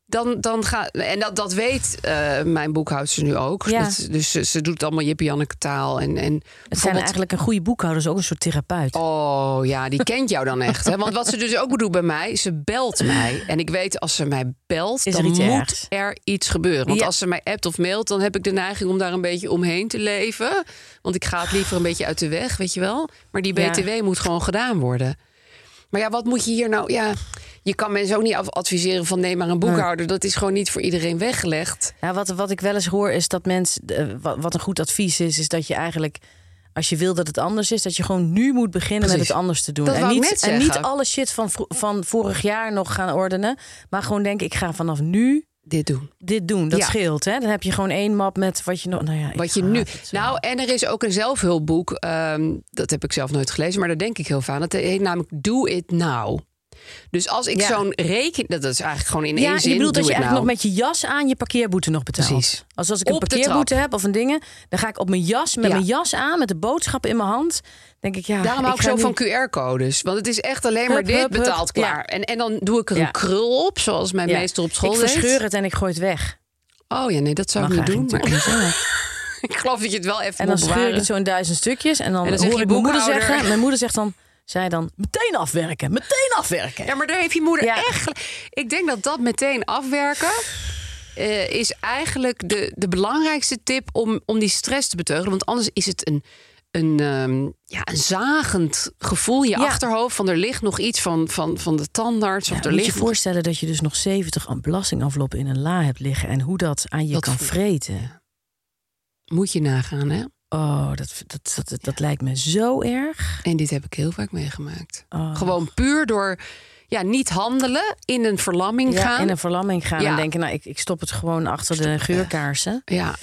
A: Dan, dan ga, en dat, dat weet eh, mijn boekhoudster nu ook.
B: Ja.
A: Dat- dus ze, ze doet allemaal Jippie-Janneke taal. En, en
B: Het zijn
A: bijvoorbeeld-
B: eigenlijk een goede boekhouder, is ook een soort therapeut.
A: Oh ja, die kent jou dan echt. Hè? Want wat ze dus ook doet bij mij, ze belt mij. En ik weet als ze mij belt,
B: Is er
A: dan
B: iets
A: moet
B: ergs?
A: er iets gebeuren. Want
B: Ja.
A: als ze mij appt of mailt, dan heb ik de neiging om daar een beetje omheen te leven. Want ik ga het liever een beetje uit de weg, weet je wel. Maar die
B: Ja.
A: BTW moet gewoon gedaan worden. Maar ja, wat moet je hier nou? Ja, je kan mensen ook niet af- adviseren van neem maar een boekhouder. Dat is gewoon niet voor iedereen weggelegd.
B: Ja, wat, wat ik wel eens hoor is dat mensen... eh, wat, wat een goed advies is, is dat je eigenlijk... Als je wil dat het anders is, dat je gewoon nu moet beginnen met
A: Precies.
B: het anders te doen.
A: Dat
B: en,
A: wou ik
B: niet,
A: net
B: en niet
A: zeggen.
B: alle shit van, vro- van vorig jaar nog gaan ordenen. Maar gewoon denken, ik ga vanaf nu
A: Dit doen.
B: dit doen. Dat
A: Ja.
B: scheelt, hè? Dan heb je gewoon één map met wat je nog... Nou ja, ik
A: Wat je
B: haat
A: nu.
B: het zo.
A: Nou, en er is ook een zelfhulpboek. ehm, dat heb ik zelf nooit gelezen, maar daar denk ik heel vaak aan. Dat heet namelijk Do It Now. Dus als ik
B: Ja.
A: zo'n rekening... Dat is eigenlijk gewoon in
B: Ja,
A: één
B: je
A: zin.
B: bedoelt dat
A: doe
B: je
A: ik nou.
B: eigenlijk nog met je jas aan je parkeerboete nog betaalt.
A: Precies.
B: Als, als ik een
A: Op de
B: parkeerboete
A: trap.
B: heb of een dingen, dan ga ik op mijn jas, met
A: Ja.
B: mijn jas aan, met de boodschap in mijn hand. Denk ik, ja,
A: Daarom hou ik
B: ga
A: zo
B: nu-
A: van QR-codes. Want het is echt alleen maar
B: Hup,
A: dit
B: hup, hup.
A: betaald klaar.
B: Ja.
A: En, en dan doe ik er
B: Ja.
A: een krul op, zoals mijn
B: Ja.
A: meester op school
B: Ik
A: deed.
B: verscheur het en ik gooi het weg.
A: Oh ja, nee, dat zou
B: Mag
A: ik niet doen.
B: eigenlijk
A: Maar *laughs* ik geloof dat je het wel even
B: En dan
A: moet
B: scheur ik het
A: bewaren.
B: zo in duizend stukjes. En dan,
A: En dan zeg
B: hoor
A: je
B: ik mijn moeder
A: boekhouder.
B: zeggen. Mijn moeder zegt dan, zij dan, meteen afwerken, meteen afwerken.
A: Ja, maar daar heeft je moeder
B: Ja.
A: echt... gel- Ik denk dat dat meteen afwerken... eh, is eigenlijk de, de belangrijkste tip om, om die stress te beteugelen. Want anders is het een, een, ehm, ja, een zagend gevoel in je
B: Ja.
A: achterhoofd. Van er ligt nog iets van, van, van de tandarts. Of
B: Ja,
A: er
B: moet je
A: ligt nog-
B: voorstellen dat je dus nog 70 aan belastingenveloppen in een la hebt liggen. En hoe dat aan je
A: Dat
B: kan
A: voel-
B: vreten.
A: Moet je nagaan, hè?
B: Oh, dat, dat, dat, dat lijkt me zo erg.
A: En dit heb ik heel vaak meegemaakt.
B: Oh.
A: Gewoon puur door ja, niet handelen, in een verlamming
B: Ja,
A: gaan.
B: in een verlamming gaan
A: Ja.
B: en denken, nou, ik, ik stop het gewoon achter de geurkaarsen.
A: Ja.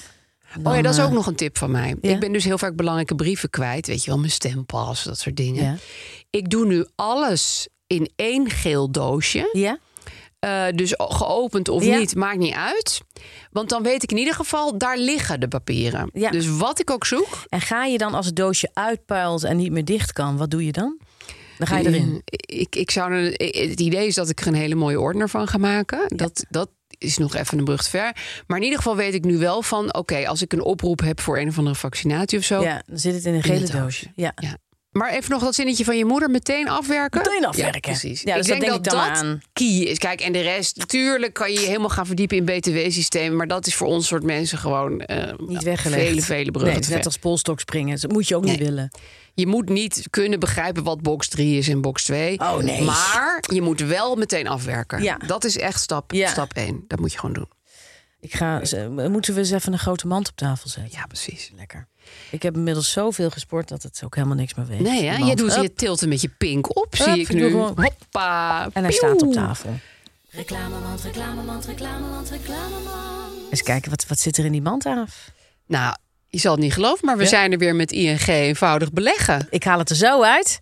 B: Dan,
A: oh ja, dat is ook
B: eh,
A: nog een tip van mij.
B: ja?
A: Ik ben dus heel vaak belangrijke brieven kwijt. Weet je wel, mijn stempas, dat soort dingen.
B: Ja.
A: Ik doe nu alles in één geel doosje.
B: Ja?
A: Eh, dus o- geopend of
B: Ja.
A: niet, maakt niet uit. Want dan weet ik in ieder geval, daar liggen de papieren.
B: Ja.
A: Dus wat ik ook zoek...
B: En ga je dan als het doosje uitpuilt en niet meer dicht kan, wat doe je dan? Dan ga je erin.
A: eh, Ik, ik zou, er- het idee is dat ik er een hele mooie ordner van ga maken. Dat, dat is nog even een brug te ver. Maar in ieder geval weet ik nu wel van... oké, als ik een oproep heb voor een of andere vaccinatie of zo...
B: Ja, dan zit het in een
A: In het
B: gele doosje.
A: doosje.
B: Ja.
A: Ja. Maar even nog dat zinnetje van je moeder, meteen afwerken.
B: Meteen afwerken.
A: Ja, precies.
B: Ja, dus
A: ik
B: dat
A: denk
B: denk
A: dat
B: ik
A: dat
B: dan aan.
A: key is. Kijk, en de rest, natuurlijk kan je je helemaal gaan verdiepen in btw-systemen. Maar dat is voor ons soort mensen gewoon eh,
B: Niet weggelegd.
A: vele, vele bruggen
B: Nee, het
A: te
B: is net
A: ver.
B: als polstok springen. Dus Dat moet je ook niet
A: Nee.
B: willen.
A: Je moet niet kunnen begrijpen wat box 3 is en box 2.
B: Oh, nee.
A: Maar je moet wel meteen afwerken.
B: Ja.
A: Dat is echt stap,
B: Ja.
A: stap 1. Dat moet je gewoon doen.
B: Ik ga, ze- moeten we eens even een grote mand op tafel zetten?
A: Ja, precies.
B: Lekker. Ik heb inmiddels zoveel gesport dat het ook helemaal niks meer weet.
A: Nee, hè? je, doet, je
B: het.
A: tilt hem met je pink op,
B: Hup,
A: zie ik
B: ik doe
A: nu.
B: gewoon-
A: Hoppa.
B: En hij
A: Pieuw.
B: staat op tafel. Eens kijken, wat, wat zit er in die mand af?
A: Nou, je zal het niet geloven, maar we zijn er weer met ING eenvoudig beleggen.
B: Ik haal het er zo uit.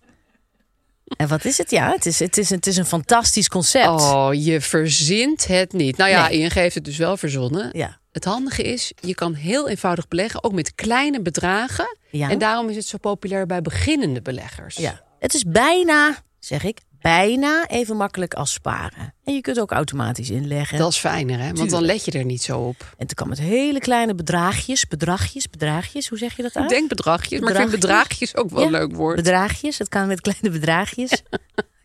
B: En wat is het? Ja, het is, het is, het is een fantastisch concept.
A: Oh, je verzint het niet. Nou ja,
B: Nee.
A: ING heeft het dus wel verzonnen.
B: Ja.
A: Het handige is, je kan heel eenvoudig beleggen, ook met kleine bedragen.
B: Ja.
A: En daarom is het zo populair bij beginnende beleggers.
B: ja. Het is bijna, zeg ik, bijna even makkelijk als sparen. En je kunt ook automatisch inleggen.
A: Dat is fijner, hè? Want dan let je er niet zo op.
B: En het kan met hele kleine bedraagjes, bedragjes, bedraagjes. Hoe zeg je dat
A: Ik
B: uit?
A: denk bedragjes, maar ik vind
B: Bedragjes.
A: bedragjes ook wel een
B: Ja,
A: leuk woord.
B: Bedraagjes, het kan met kleine
A: *laughs*
B: bedraagjes.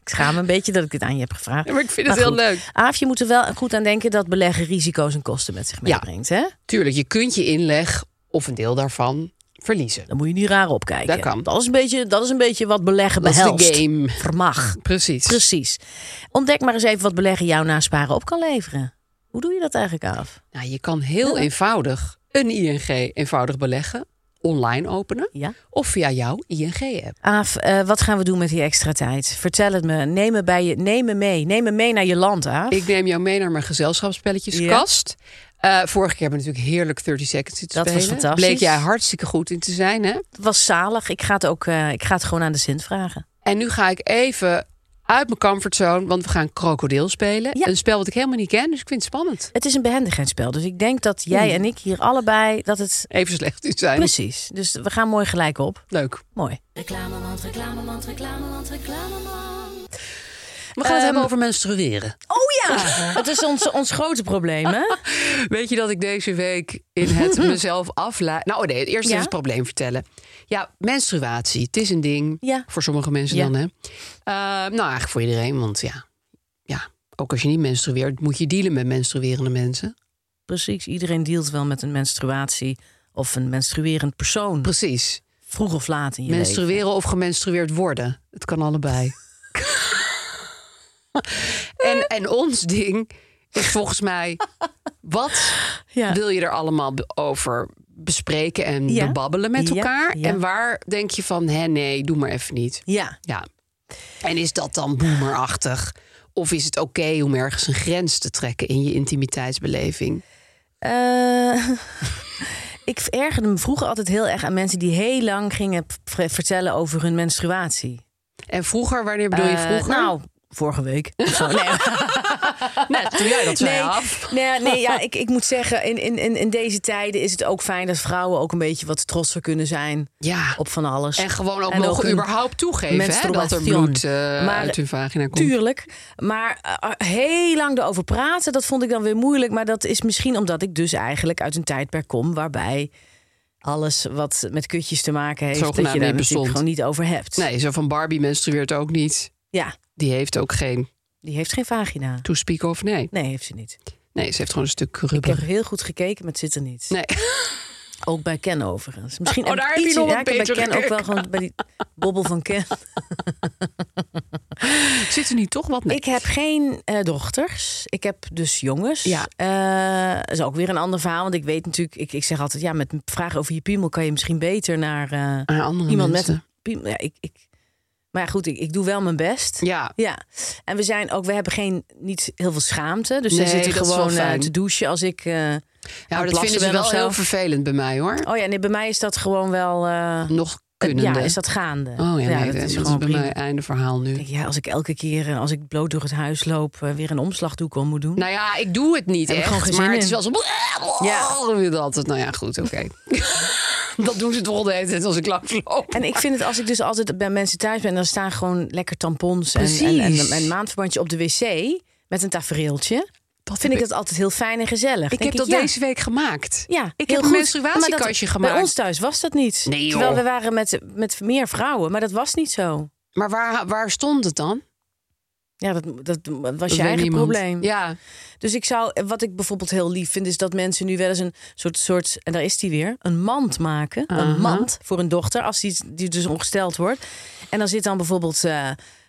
B: Ik schaam me een beetje dat ik dit aan je heb gevraagd.
A: Ja, maar ik vind het heel
B: goed.
A: leuk.
B: Aaf, je moet er wel goed aan denken dat beleggen risico's en kosten met zich
A: Ja.
B: meebrengt. Hè?
A: Tuurlijk, je kunt je inleg of een deel daarvan verliezen.
B: Dan moet je niet raar opkijken.
A: Dat kan.
B: Dat is een beetje, dat is een beetje wat beleggen
A: Dat is de
B: behelst.
A: game.
B: Vermag.
A: Precies.
B: Precies. Ontdek maar eens even wat beleggen jou na sparen op kan leveren. Hoe doe je dat eigenlijk af?
A: Nou, je kan heel
B: Ja.
A: eenvoudig een ING eenvoudig beleggen, online openen
B: Ja.
A: of via jouw ING-app.
B: Aaf, eh, wat gaan we doen met die extra tijd? Vertel het me. Neem me, bij je, neem me mee. Neem me mee naar je land, Aaf.
A: Ik neem jou mee naar mijn gezelschapsspelletjeskast. Eh, vorige keer hebben we natuurlijk heerlijk 30 Seconds zitten
B: Dat was
A: spelen.
B: fantastisch.
A: Bleek jij hartstikke goed in te zijn, hè?
B: Het was zalig. Ik ga het, ook, eh, ik ga het gewoon aan de Sint vragen.
A: En nu ga ik even uit mijn comfortzone, want we gaan krokodil spelen.
B: Ja.
A: Een spel wat ik helemaal niet ken, dus ik vind het spannend.
B: Het is een behendigheidsspel. Dus ik denk dat jij
A: Hmm.
B: en ik hier allebei... dat het
A: Even slecht in zijn.
B: Precies. Dus we gaan mooi gelijk op.
A: Leuk.
B: Mooi.
A: We gaan het hebben over menstrueren.
B: Oh ja! Het is ons, ons grote probleem,
A: *laughs*
B: hè?
A: Weet je dat ik deze week in
B: *laughs*
A: het mezelf aflaat? Nou, nee, eerst
B: Ja?
A: even het probleem vertellen. Ja, menstruatie. Het is een ding.
B: Ja.
A: Voor sommige mensen
B: Ja.
A: dan, hè? Eh, nou, eigenlijk voor iedereen. Want ja, ja, ook als je niet menstrueert, moet je dealen met menstruerende mensen.
B: Precies. Iedereen dealt wel met een menstruatie of een menstruerend persoon.
A: Precies.
B: Vroeg of laat in je leven.
A: Menstrueren of gemenstrueerd worden. Het kan allebei.
B: *laughs*
A: en, en ons ding is volgens mij... wat
B: Ja.
A: wil je er allemaal be- over bespreken en
B: Ja.
A: bebabbelen met
B: Ja,
A: elkaar?
B: ja.
A: En waar denk je van, hè nee, doe maar even niet.
B: Ja.
A: Ja. En is dat dan boomerachtig? Of is het oké om ergens een grens te trekken in je intimiteitsbeleving?
B: Eh, *laughs* ik ergerde me vroeger altijd heel erg aan mensen die heel lang gingen v- vertellen over hun menstruatie.
A: En vroeger, wanneer bedoel je
B: Eh,
A: *laughs* vroeger?
B: nou, vorige week. Of zo.
A: *laughs*
B: Nee.
A: Net toen jij dat zei
B: nee,
A: af.
B: Nee, nee
A: *laughs*
B: ja, ik, ik moet zeggen, in, in, in, in deze tijden is het ook fijn dat vrouwen ook een beetje wat trotser kunnen zijn
A: Ja.
B: op van alles.
A: En gewoon ook mogen
B: hun
A: überhaupt toegeven hè, dat er
B: menstruatie.
A: bloed eh, uit hun vagina komt.
B: Tuurlijk. Maar eh, heel lang erover praten, dat vond ik dan weer moeilijk. Maar dat is misschien omdat ik dus eigenlijk uit een tijdperk kom waarbij alles wat met kutjes te maken heeft, dat je daar
A: Zogenaamd niet
B: natuurlijk
A: bestond.
B: gewoon niet over hebt.
A: Nee, zo van Barbie menstrueert ook niet.
B: Ja,
A: Die heeft ook geen
B: die heeft geen vagina.
A: to speak of nee.
B: Nee, heeft ze niet.
A: Nee, ze heeft gewoon een stuk
B: Ik heb
A: rubber.
B: heel goed gekeken, maar het zit er niet.
A: Nee.
B: Ook bij Ken overigens. Misschien
A: *laughs* Oh,
B: heb ik
A: daar heb je
B: iets-
A: nog
B: ja,
A: een
B: ik heb
A: betere
B: bij Ken ook wel
A: kijk.
B: gewoon bij die bobbel van Ken.
A: Zit er niet toch wat? *laughs* Nee.
B: Ik heb geen eh, dochters. Ik heb dus jongens.
A: Ja.
B: Eh, dat is ook weer een ander verhaal. Want ik weet natuurlijk, ik, ik zeg altijd, ja, met vragen over je piemel kan je misschien beter naar eh,
A: Aan andere
B: iemand
A: Ah, mensen.
B: met een piemel. Ja, ik, ik, maar ja, goed, ik, ik doe wel mijn best.
A: Ja,
B: Ja, en we zijn ook, we hebben geen niet heel veel schaamte. Dus
A: Nee,
B: we zitten
A: dat is wel
B: gewoon eh,
A: fijn.
B: te douchen als ik. eh, aan
A: ja maar dat
B: het plassen
A: vinden ze
B: ben
A: wel
B: of zo.
A: heel vervelend bij mij hoor.
B: Oh ja, nee, bij mij is dat gewoon wel. eh,
A: Nog kunnen.
B: ja, is dat gaande?
A: Oh ja, nee,
B: dat is
A: dat
B: gewoon
A: bij
B: prima.
A: mij einde verhaal nu.
B: Ik denk, Ja, als ik elke keer eh, als ik bloot door het huis loop eh, weer een omslagdoek om moet doen.
A: Nou ja, ik doe het niet
B: Heb ik
A: echt,
B: gewoon geen
A: maar
B: zin
A: het is
B: in.
A: wel zo...
B: Ja.
A: Ja. Dat. Nou ja, goed, oké.
B: *laughs*
A: *laughs* dat doen ze toch de hele tijd als ik langsloop.
B: En ik vind het als ik dus altijd bij mensen thuis ben, dan staan gewoon lekker tampons en, en, en,
A: Precies.
B: en een maandverbandje op de wc met een tafereeltje. Dat vind ik dat altijd heel fijn en gezellig.
A: Ik
B: Denk
A: heb dat
B: ja,
A: deze week gemaakt.
B: Ja,
A: ik
B: heel
A: heb een
B: goed. Maar
A: menstruatiekastje
B: dat-
A: gemaakt.
B: Bij ons thuis was dat niet.
A: Nee, joh.
B: Terwijl we waren met, met meer vrouwen, maar dat was niet zo.
A: Maar waar, waar stond het dan?
B: Ja, dat, dat was
A: Dat
B: je
A: weet
B: eigen
A: niemand.
B: probleem.
A: Ja,
B: Dus ik zou, wat ik bijvoorbeeld heel lief vind, is dat mensen nu wel eens een soort, soort en daar is die weer, een mand maken.
A: Aha.
B: Een mand voor een dochter, als die, die dus ongesteld wordt. En dan zit dan bijvoorbeeld, eh,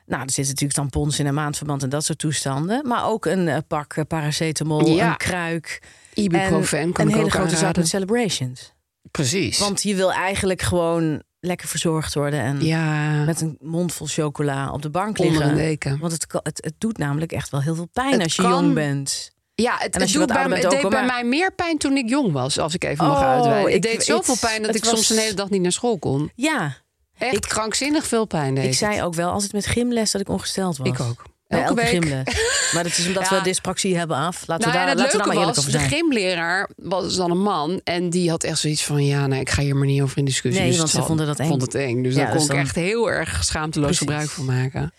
B: nou, er zitten natuurlijk tampons in een maandverband en dat soort toestanden. Maar ook een eh, pak eh, paracetamol,
A: Ja.
B: een kruik.
A: ibuprofen
B: en
A: kan
B: een
A: ik
B: hele
A: ook
B: grote zak
A: aanraden.
B: met celebrations.
A: precies.
B: Want je wil eigenlijk gewoon lekker verzorgd worden en
A: ja,
B: met een mond vol chocola op de bank
A: onder
B: liggen.
A: een deken.
B: Want het, ka- het, het doet namelijk echt wel heel veel pijn
A: Het
B: als je
A: kan.
B: jong bent.
A: Ja, het,
B: En
A: het,
B: als je
A: doet bij,
B: wat ouder
A: me- het
B: bent ook,
A: deed
B: hoor,
A: bij
B: maar-
A: mij meer pijn toen ik jong was, als ik even mag
B: Oh,
A: uitweiden. Het
B: ik-
A: deed zoveel
B: het-
A: pijn dat
B: het
A: ik
B: was-
A: soms een hele dag niet naar school kon.
B: Ja,
A: Echt krankzinnig veel pijn deed
B: ik zei ook wel altijd met gymles dat ik ongesteld was.
A: het. Ik ook.
B: Bij
A: Elke
B: elke,
A: week. *laughs*
B: gymles. Maar dat is omdat
A: Ja.
B: we dyspraxie hebben af. Laten
A: nou,
B: we
A: en
B: daar,
A: het
B: laten we daar maar
A: leuke
B: eerlijk
A: was,
B: over
A: de
B: zijn.
A: gymleraar was dan een man. En die had echt zoiets van, ja, nee, ik ga hier maar niet over in discussie.
B: Nee,
A: dus het
B: want ze
A: zal-
B: vonden dat eng.
A: Vond het eng. Dus
B: Ja,
A: daar
B: dus
A: kon ik
B: dan-
A: echt heel erg schaamteloos
B: Precies.
A: gebruik van maken.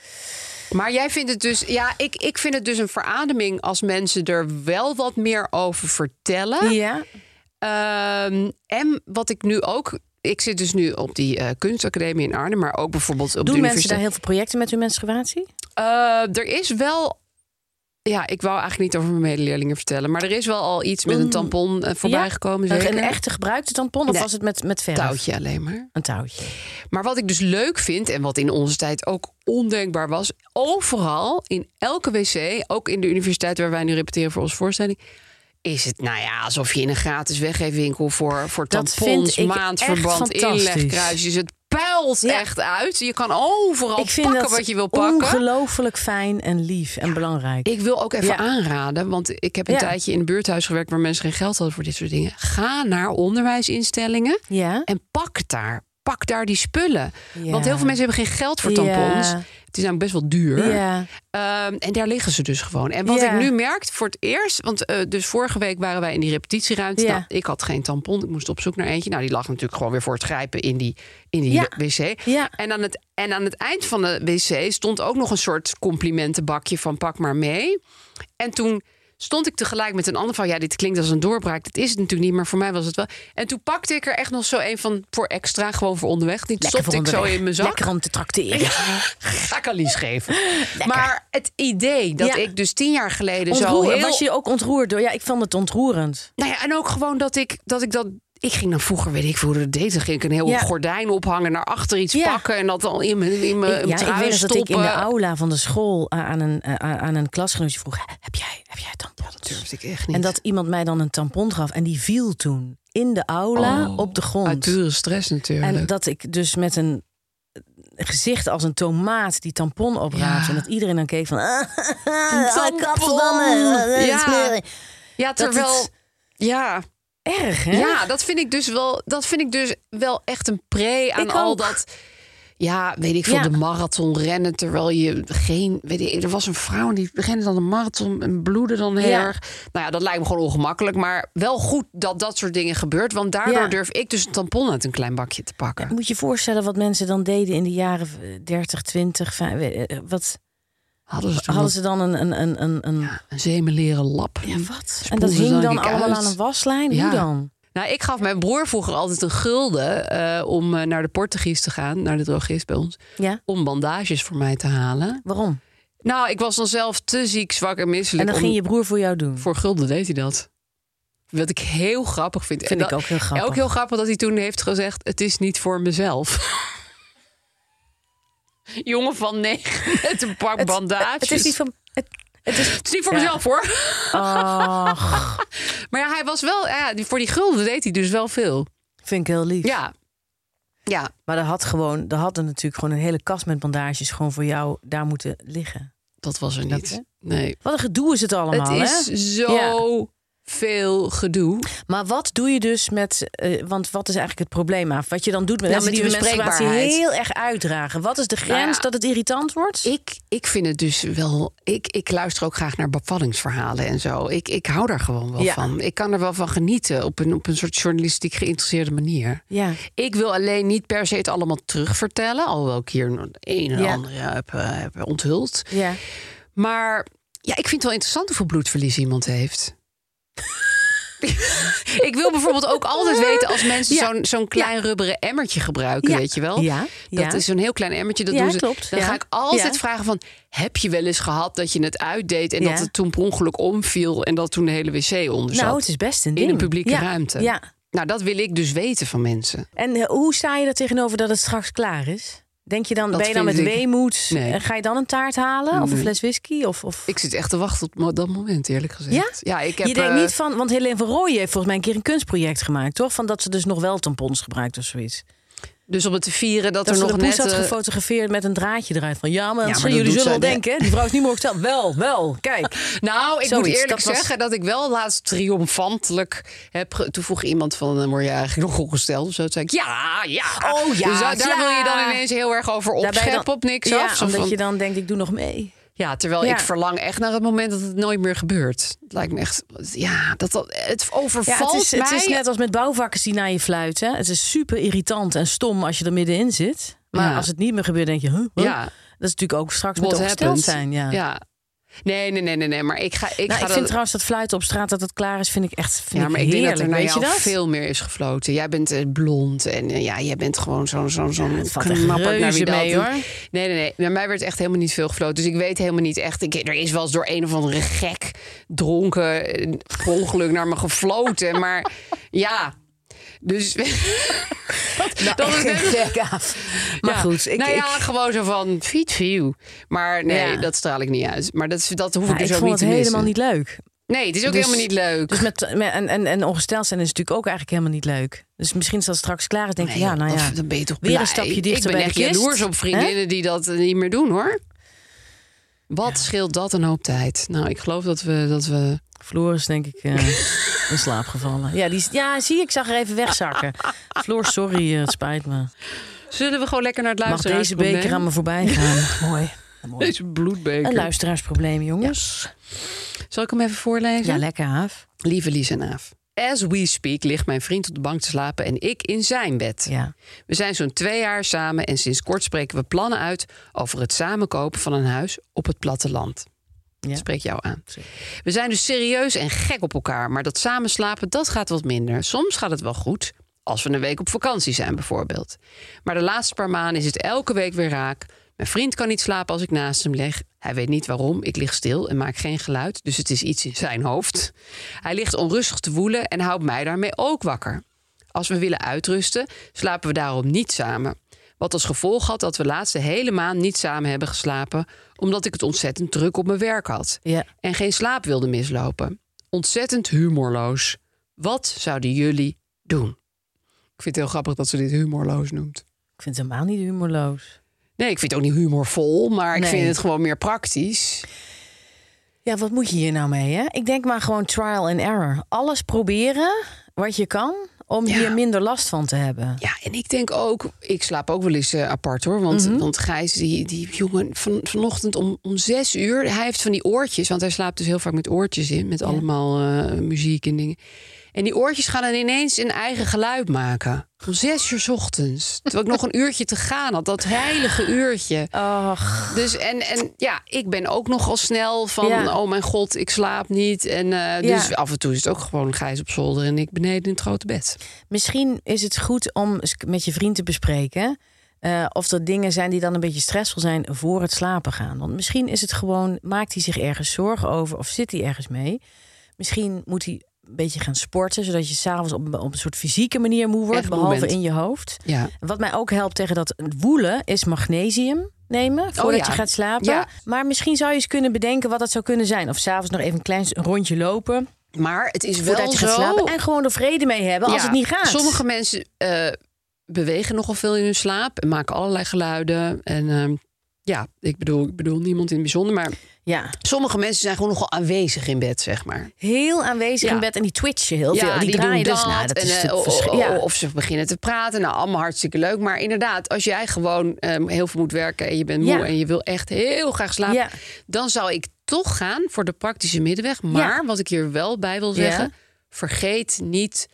A: Maar jij vindt het dus, ja, ik, ik vind het dus een verademing als mensen er wel wat meer over vertellen.
B: Ja,
A: Ehm, en wat ik nu ook, ik zit dus nu op die eh, kunstacademie in Arnhem, maar ook bijvoorbeeld op de
B: doen mensen daar
A: universiteit.
B: heel veel projecten met hun menstruatie?
A: Eh, er is wel. Ja, ik wou eigenlijk niet over mijn medeleerlingen vertellen. Maar er is wel al iets met een tampon eh, voorbij
B: Mm. Ja?
A: gekomen.
B: Een-
A: Zeker.
B: Een echte gebruikte tampon of
A: Nee.
B: was het met, met verf?
A: touwtje alleen maar.
B: Een touwtje.
A: Maar wat ik dus leuk vind. En wat in onze tijd ook ondenkbaar was. Overal, in elke wc. Ook in de universiteit waar wij nu repeteren voor onze voorstelling. Is het nou ja alsof je in een gratis weggeefwinkel voor, voor
B: Dat
A: tampons,
B: vind ik
A: maandverband,
B: echt fantastisch.
A: inlegkruisjes. Het puilt
B: Ja.
A: echt uit. Je kan overal
B: ik vind
A: pakken
B: dat
A: wat je wil pakken.
B: ongelooflijk fijn en lief en belangrijk.
A: Ik wil ook even
B: Ja.
A: aanraden, want ik heb een
B: Ja.
A: tijdje in een buurthuis gewerkt waar mensen geen geld hadden voor dit soort dingen. Ga naar onderwijsinstellingen
B: ja?
A: en pak daar. Pak daar die spullen.
B: Ja.
A: Want heel veel mensen hebben geen geld voor tampons.
B: Ja.
A: Het is namelijk best wel duur.
B: Ja.
A: Ehm, en daar liggen ze dus gewoon. En wat
B: Ja.
A: ik nu merk, voor het eerst... want eh, dus vorige week waren wij in die repetitieruimte.
B: Ja.
A: Nou, ik had geen tampon, ik moest op zoek naar eentje. Nou, die lag natuurlijk gewoon weer voor het grijpen in die, in die
B: Ja.
A: wc.
B: Ja.
A: En, aan het, en aan het eind van de wc stond ook nog een soort complimentenbakje van pak maar mee. En toen stond ik tegelijk met een ander van... ja, dit klinkt als een doorbraak, dat is het natuurlijk niet... maar voor mij was het wel. En toen pakte ik er echt nog zo een van voor extra, gewoon voor onderweg. Die
B: Lekker
A: stopte
B: voor
A: ik zo
B: onderweg.
A: in mijn zak
B: Lekker om te trakteren.
A: ga ik Alies
B: *laughs*
A: geven. Maar het idee dat
B: Ja.
A: ik dus tien jaar geleden zo
B: Ontroer-
A: heel...
B: Was je ook ontroerd door? Ja, ik vond het ontroerend.
A: Nou ja, en ook gewoon dat ik dat... Ik dat ik ging dan vroeger, weet ik veel hoe dat deed. Dan ging ik een heel
B: Ja.
A: gordijn ophangen, naar achter iets
B: Ja.
A: pakken... en dat dan in mijn, in mijn
B: Ik- ja, ik
A: trui
B: weet nog dat
A: stoppen.
B: ik in de aula van de school eh, aan een, eh, aan een klasgenootje vroeg... heb jij, heb jij tampons?
A: durfde ik echt niet.
B: en dat iemand mij dan een tampon gaf en die viel toen in de aula
A: Oh,
B: op de
A: Uit
B: grond.
A: pure stress natuurlijk.
B: En dat ik dus met een eh, gezicht als een tomaat die tampon opraapte...
A: Ja.
B: en dat iedereen dan keek van... Ah, eh,
A: tampon! Ja.
B: Ja.
A: ja,
B: dat
A: terwijl...
B: het-
A: ja,
B: Erg, hè?
A: ja, dat vind ik dus wel. Dat vind ik dus wel echt een pre aan
B: Ik
A: al
B: ook.
A: dat. Ja, weet ik veel,
B: Ja.
A: de marathon rennen. Terwijl je geen. Weet ik, er was een vrouw en die rende dan een marathon en bloedde dan heel
B: Ja.
A: erg. Nou ja, dat lijkt me gewoon ongemakkelijk. Maar wel goed dat dat soort dingen gebeurt. Want daardoor
B: Ja.
A: durf ik dus een tampon uit een klein bakje te pakken.
B: Moet je je voorstellen wat mensen dan deden in de jaren eh, 30, 20, vijf- weet- eh, wat
A: Hadden ze,
B: hadden ze dan een. een, een, een, een...
A: een, een zemeleren lap?
B: Ja, wat? En
A: Spoelde
B: dat
A: ze
B: hing
A: dan
B: dan
A: niet
B: allemaal
A: uit?
B: aan een waslijn?
A: Ja.
B: Hoe dan?
A: Nou, ik gaf mijn broer vroeger altijd een gulden eh, om eh, naar de Portugies te gaan, naar de drogist bij ons,
B: Ja,
A: om bandages voor mij te halen.
B: waarom?
A: Nou, ik was dan zelf te ziek, zwak en
B: En
A: misselijk.
B: dan
A: om-
B: ging je broer voor jou doen.
A: Voor gulden deed hij dat. Wat ik heel grappig vind.
B: Vind
A: En
B: ik
A: dat-
B: ook heel grappig.
A: Ook heel grappig dat hij toen heeft gezegd: Het is niet voor mezelf. *laughs* Jongen van negen met een pak
B: Het-
A: bandages.
B: Het, is niet van. Het, het is,
A: Het is niet voor
B: Ja.
A: mezelf hoor.
B: Oh,
A: Maar ja, hij was wel. Ja, die- voor die gulden deed hij dus wel veel.
B: vind ik heel lief.
A: Ja. Ja,
B: Maar er had gewoon, er hadden natuurlijk gewoon een hele kast met bandages gewoon voor jou daar moeten liggen.
A: dat was er
B: Dat,
A: niet.
B: hè?
A: nee.
B: Wat een gedoe is het allemaal,
A: het is
B: hè?
A: zo veel gedoe.
B: Maar wat doe je dus met, eh, want wat is eigenlijk het probleem af? Wat je dan doet met
A: Ja,
B: mensen
A: met
B: die
A: die
B: hun menstruatie
A: bespreekbaarheid.
B: heel erg uitdragen. Wat is de grens
A: ja.
B: dat het irritant wordt?
A: Ik, ik vind het dus wel. Ik, ik luister ook graag naar bevallingsverhalen en zo. Ik, ik hou daar gewoon wel
B: Ja.
A: van. Ik kan er wel van genieten op een, op een soort journalistiek geïnteresseerde manier.
B: Ja.
A: Ik wil alleen niet per se het allemaal terugvertellen. Alhoewel ik hier een en
B: Ja.
A: ander heb, eh, heb onthuld.
B: Ja.
A: Maar ja, ik vind het wel interessant hoeveel bloedverlies iemand
B: *laughs*
A: heeft. ik wil bijvoorbeeld ook altijd weten als mensen
B: Ja.
A: zo'n zo'n klein rubberen emmertje gebruiken,
B: Ja.
A: weet je wel?
B: Ja.
A: Dat
B: Ja.
A: is zo'n heel klein emmertje. Dat
B: Ja,
A: doen ze.
B: klopt.
A: Dan
B: Ja.
A: ga ik altijd
B: Ja.
A: vragen van, heb je wel eens gehad dat je het uitdeed en
B: Ja.
A: dat het toen per ongeluk omviel en dat toen de hele wc onder zat?
B: Nou, het is best een
A: In
B: ding.
A: een publieke
B: Ja.
A: ruimte.
B: Ja.
A: Nou, dat wil ik dus weten van mensen.
B: En eh, hoe sta je er tegenover dat het straks klaar is? Denk je dan,
A: Dat
B: ben je dan met
A: vind ik-
B: weemoed?
A: Nee.
B: eh, Ga je dan een taart halen? Of een fles whisky? Of, of...
A: Ik zit echt te wachten op mo- dat moment, eerlijk gezegd.
B: Ja?
A: ik heb,
B: je denkt
A: eh,
B: niet van, want Helene van Rooij heeft volgens mij een keer een kunstproject gemaakt, toch? Van dat ze dus nog wel tampons gebruikt of zoiets.
A: Dus om het te vieren dat,
B: Dat
A: er
B: ze
A: nog
B: de
A: net...
B: poes had
A: eh,
B: gefotografeerd met een draadje eruit. Van ja,
A: maar
B: maar, zullen
A: dat
B: jullie
A: doet
B: zullen wel
A: zij-
B: denken, hè? die vrouw is niet mogelijk zelf. Wel,
A: *laughs*
B: wel, kijk.
A: Nou, ik
B: Zoiets,
A: moet eerlijk
B: dat was-
A: zeggen dat ik wel laatst triomfantelijk heb... ge- Toen vroeg iemand van, eh, word je eigenlijk nog ongesteld of zo? Toen zei ik, ja, ja.
B: Oh, ja,
A: Dus daar, daar
B: ja.
A: wil je dan ineens heel erg over
B: Daarbij
A: opscheppen
B: dan-
A: op niks
B: ja,
A: af. Zo
B: omdat
A: van-
B: je dan denkt, ik doe nog mee.
A: Ja, terwijl
B: Ja.
A: ik verlang echt naar het moment dat het nooit meer gebeurt. Het lijkt me echt... Ja, dat, dat- het
B: Ja,
A: overvalt
B: het, is,
A: mij.
B: het is net als met bouwvakkers die naar je fluiten. Het is super irritant en stom als je er middenin zit. Maar
A: Ja.
B: als het niet meer gebeurt, denk je, huh, huh?
A: Ja.
B: dat is natuurlijk ook straks
A: What
B: met ongesteld
A: happened?
B: zijn. Ja.
A: Nee, nee, nee, nee, nee. Maar ik ga... Ik ga
B: nou, ik vind
A: dat-
B: trouwens dat fluiten op straat dat het klaar is, vind ik echt vind
A: ja, maar ik
B: ik
A: denk
B: heerlijk.
A: dat er naar
B: Weet je
A: jou
B: dat? *laughs*
A: veel meer is gefloten. Jij bent eh, blond en eh, ja, jij bent gewoon zo'n zo'n zo'n
B: het valt echt
A: knapper naar wie
B: reuze
A: dat
B: mee,
A: doet.
B: hoor.
A: Nee, nee, nee. Naar mij werd echt helemaal niet veel gefloten. Dus ik weet helemaal niet echt. Ik, er is wel eens door een of andere gek dronken eh, per ongeluk naar me gefloten. Maar ja, dus... *laughs* dat, dat is
B: *laughs*
A: net-
B: Nou, Maar
A: ja.
B: goed, ik,
A: nou
B: ik,
A: ja, gewoon zo van feed for you. Maar nee,
B: Ja. Nou,
A: dat straal ik niet uit. Maar dat, is- dat hoef ik
B: ik
A: dus ook
B: vond
A: niet
B: het
A: te missen.
B: helemaal niet leuk.
A: Nee, het is ook
B: Dus-
A: helemaal niet leuk.
B: Dus met, met- en, en, en ongesteld zijn is natuurlijk ook eigenlijk helemaal niet leuk. Dus misschien is dat straks klaar is, denk je,
A: Nee,
B: ja, nou
A: dan-
B: ja.
A: Dan ben je toch
B: Weer
A: blij.
B: een stapje
A: Ik
B: dichter
A: ben
B: bij
A: echt
B: de kist.
A: jaloers op vriendinnen die dat eh, niet meer doen, hoor. Wat scheelt dat een hoop tijd? Nou, ik geloof dat we... Dat we...
B: Floor is denk ik eh, in slaap gevallen. Ja, die, is- ja, zie, ik zag er even wegzakken. Floor, sorry, eh, het spijt me.
A: Zullen we gewoon lekker naar het
B: Mag
A: luisteren?
B: deze beker aan me voorbij gaan? *laughs* Mooi. Mooi.
A: Deze bloedbeker.
B: Een luisteraarsprobleem, jongens.
A: Zal ik hem even voorlezen?
B: Ja, lekker, Haaf.
A: Lieve Lies en Aaf. As we speak ligt mijn vriend op de bank te slapen en ik in zijn bed.
B: Ja.
A: We zijn zo'n twee jaar samen en sinds kort spreken we plannen uit over het samenkopen van een huis op het platteland.
B: Ja.
A: Spreek jou aan. We zijn dus serieus en gek op elkaar, maar dat samenslapen dat gaat wat minder. Soms gaat het wel goed, als we een week op vakantie zijn bijvoorbeeld. Maar de laatste paar maanden is het elke week weer raak. Mijn vriend kan niet slapen als ik naast hem lig. Hij weet niet waarom. Ik lig stil en maak geen geluid, dus het is iets in zijn hoofd. Hij ligt onrustig te woelen en houdt mij daarmee ook wakker. Als we willen uitrusten, slapen we daarom niet samen. Wat als gevolg had dat we laatst de hele maand niet samen hebben geslapen, omdat ik het ontzettend druk op mijn werk had
B: Ja.
A: en geen slaap wilde mislopen. Ontzettend humorloos. Wat zouden jullie doen? Ik vind het heel grappig dat ze dit humorloos noemt.
B: Ik vind het helemaal niet humorloos.
A: Nee, ik vind het ook niet humorvol, maar ik
B: Nee.
A: vind het gewoon meer praktisch.
B: Ja, wat moet je hier nou mee, hè? Ik denk maar gewoon trial and error. Alles proberen wat je kan. om
A: Ja.
B: hier minder last van te hebben.
A: Ja, en ik denk ook, ik slaap ook wel eens eh, apart hoor. Want,
B: Mhm.
A: want Gijs, die, die jongen, van, vanochtend om, om zes uur, hij heeft van die oortjes, want hij slaapt dus heel vaak met oortjes in, met allemaal eh, muziek en dingen. En die oortjes gaan dan ineens een eigen geluid maken. Om zes uur 's ochtends. Terwijl ik nog een uurtje te gaan had, dat heilige uurtje.
B: Ach,
A: Dus en, en ja, ik ben ook nogal snel van,
B: Ja.
A: oh mijn god, ik slaap niet. En eh,
B: Ja.
A: dus af en toe is het ook gewoon Gijs op zolder en ik beneden in het grote bed.
B: misschien is het goed om eens met je vriend te bespreken. eh, of er dingen zijn die dan een beetje stressvol zijn voor het slapen gaan. Want misschien is het gewoon, maakt hij zich ergens zorgen over of zit hij ergens mee. Misschien moet hij een beetje gaan sporten, zodat je s'avonds op, op een soort fysieke manier moe wordt,
A: Echt moe
B: behalve
A: bent.
B: in je hoofd.
A: Ja.
B: Wat mij ook helpt tegen dat woelen is magnesium nemen voordat
A: Oh ja.
B: je gaat slapen.
A: Ja.
B: Maar misschien zou je eens kunnen bedenken wat dat zou kunnen zijn. Of s'avonds nog even een klein rondje lopen
A: Maar het is wel
B: voordat je gaat
A: zo.
B: slapen. En gewoon er vrede mee hebben als
A: Ja,
B: het niet gaat.
A: Sommige mensen eh, bewegen nogal veel in hun slaap en maken allerlei geluiden. En ehm, ja, ik bedoel, ik bedoel niemand in het bijzonder, maar
B: Ja,
A: sommige mensen zijn gewoon nogal aanwezig in bed, zeg maar.
B: heel aanwezig
A: Ja.
B: in bed en die twitchen heel veel. Die,
A: doen
B: draaien dus.
A: dat
B: nou, dat
A: en,
B: is
A: eh,
B: natuurlijk
A: o- o-
B: verschri- ja.
A: o- Of ze beginnen te praten. Nou, allemaal hartstikke leuk. Maar inderdaad, als jij gewoon ehm, heel veel moet werken en je bent moe
B: Ja.
A: en je wil echt heel graag slapen,
B: Ja.
A: dan zou ik toch gaan voor de praktische middenweg. Maar wat ik hier wel bij wil
B: Ja.
A: zeggen, vergeet niet.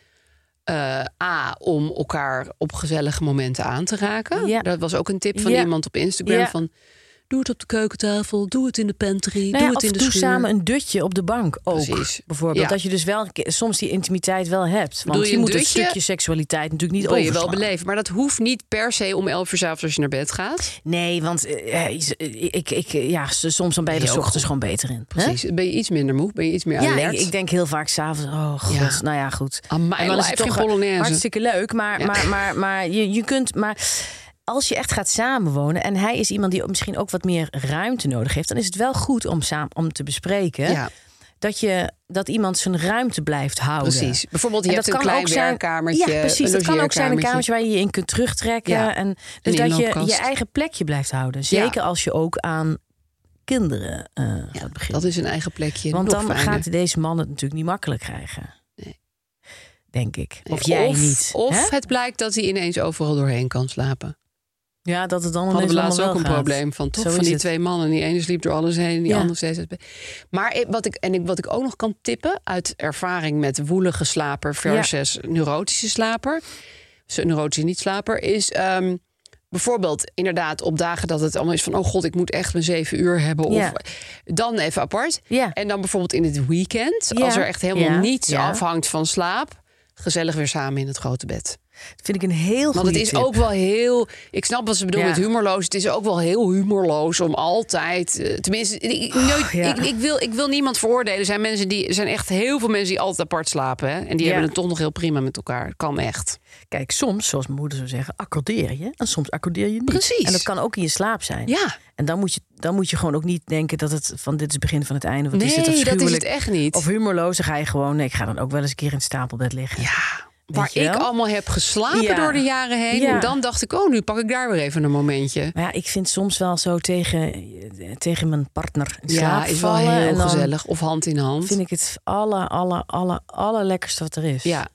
A: eh, A, om elkaar op gezellige momenten aan te raken.
B: Ja.
A: Dat was ook een tip van
B: Ja.
A: iemand op Instagram.
B: Ja.
A: Van, doe het op de keukentafel, doe het in de pantry, doe
B: Nou ja,
A: het
B: of
A: in de
B: doe
A: schuur.
B: samen een dutje op de bank ook.
A: Precies.
B: Bijvoorbeeld.
A: Ja.
B: Dat je dus wel een keer- soms die intimiteit wel hebt. Want
A: Doe je
B: je,
A: een
B: moet
A: dutje?
B: een stukje seksualiteit natuurlijk niet
A: wil je wel
B: overslaan.
A: beleven. Maar dat hoeft niet per se om 11 uur 's avonds als je naar bed gaat.
B: Nee, want eh, eh, is- eh, ik, ik, eh, ja, s- soms dan ben
A: Ben
B: je er
A: je
B: s
A: ook
B: ochtends
A: goed.
B: gewoon beter in. hè?
A: Precies. Ben je iets minder moe? Ben je iets meer
B: Ja, ik,
A: alert?
B: ik denk heel vaak s'avonds, oh god,
A: Ja. Ah,
B: nou ja, goed.
A: Amai,
B: En dan is
A: live
B: het
A: geen
B: toch wel
A: Polonaise.
B: hartstikke leuk, maar,
A: Ja.
B: maar, maar, maar je, je kunt... Maar als je echt gaat samenwonen en hij is iemand die misschien ook wat meer ruimte nodig heeft... dan is het wel goed om, samen, om te bespreken
A: Ja.
B: dat, je, dat iemand zijn ruimte blijft houden.
A: Precies. Bijvoorbeeld, je
B: Oh, En
A: hebt
B: dat
A: een
B: kan
A: klein
B: ook zijn-
A: werkkamertje,
B: Ja, precies.
A: een
B: Dat kan ook zijn een
A: logeerkamertje.
B: kamertje waar je je in kunt terugtrekken.
A: Ja.
B: En,
A: Een
B: dus dat je je
A: inloopkast.
B: eigen plekje blijft houden. Zeker als je ook aan kinderen eh, gaat beginnen.
A: Dat is een eigen plekje.
B: Want
A: Nog
B: dan
A: fijner.
B: gaat deze man het natuurlijk niet makkelijk krijgen. Denk ik. Of
A: Nee,
B: jij niet.
A: Of
B: hè?
A: het blijkt dat hij ineens overal doorheen kan slapen.
B: Ja, dat het dan
A: Hadden we
B: ineens
A: laatst ook
B: allemaal
A: een
B: wel gaat.
A: probleem van toch
B: Zo
A: van
B: is
A: die
B: het.
A: twee mannen. Die ene sliep door alles heen en die
B: Ja.
A: andere steeds uit bed. Maar ik- wat ik, en ik, wat ik ook nog kan tippen uit ervaring met woelige slaper versus neurotische slaper, zo- neurotische niet-slaper, is ehm, bijvoorbeeld inderdaad op dagen dat het allemaal is van oh god, ik moet echt mijn zeven uur hebben. Of,
B: Ja.
A: Dan even apart.
B: Ja.
A: En dan bijvoorbeeld in het weekend,
B: Ja.
A: als er echt helemaal
B: Ja.
A: niets
B: Ja.
A: afhangt van slaap, gezellig weer samen in het grote bed.
B: Dat vind ik een heel
A: Want
B: goede
A: het is
B: tip.
A: ook wel heel. Ik snap wat ze bedoelen
B: Ja.
A: met humorloos. Het is ook wel heel humorloos om altijd. eh, tenminste, ik, ik- nooit-
B: Oh, ja.
A: ik, ik wil, ik wil niemand veroordelen. Er zijn, mensen die, er zijn echt heel veel mensen die altijd apart slapen. Hè? En die
B: Ja.
A: hebben het toch nog heel prima met elkaar. Kan echt.
B: Kijk, soms, zoals mijn moeder zou zeggen, accordeer je. En soms accordeer je niet.
A: Precies.
B: En dat kan ook in je slaap zijn.
A: Ja.
B: En dan moet, je, dan moet je gewoon ook niet denken dat het van dit is het begin van het einde. Of het is
A: Nee,
B: dit
A: dat Dus is
B: afschuwelijk.
A: het echt niet.
B: Of humorloos. Dan ga je gewoon, nee, ik ga dan ook wel eens een keer in het stapelbed liggen.
A: Ja. Waar
B: je
A: ik
B: wel?
A: allemaal heb geslapen
B: Ja.
A: door de jaren heen.
B: Ja.
A: En dan dacht ik, oh, nu pak ik daar weer even een momentje.
B: Maar ja, ik vind soms wel zo tegen, tegen mijn partner in
A: Ja,
B: slaap
A: is wel
B: vallen. en
A: heel
B: dan
A: gezellig. Of hand in hand.
B: vind ik het alle, alle, alle, alle lekkerste wat er is.
A: Ja.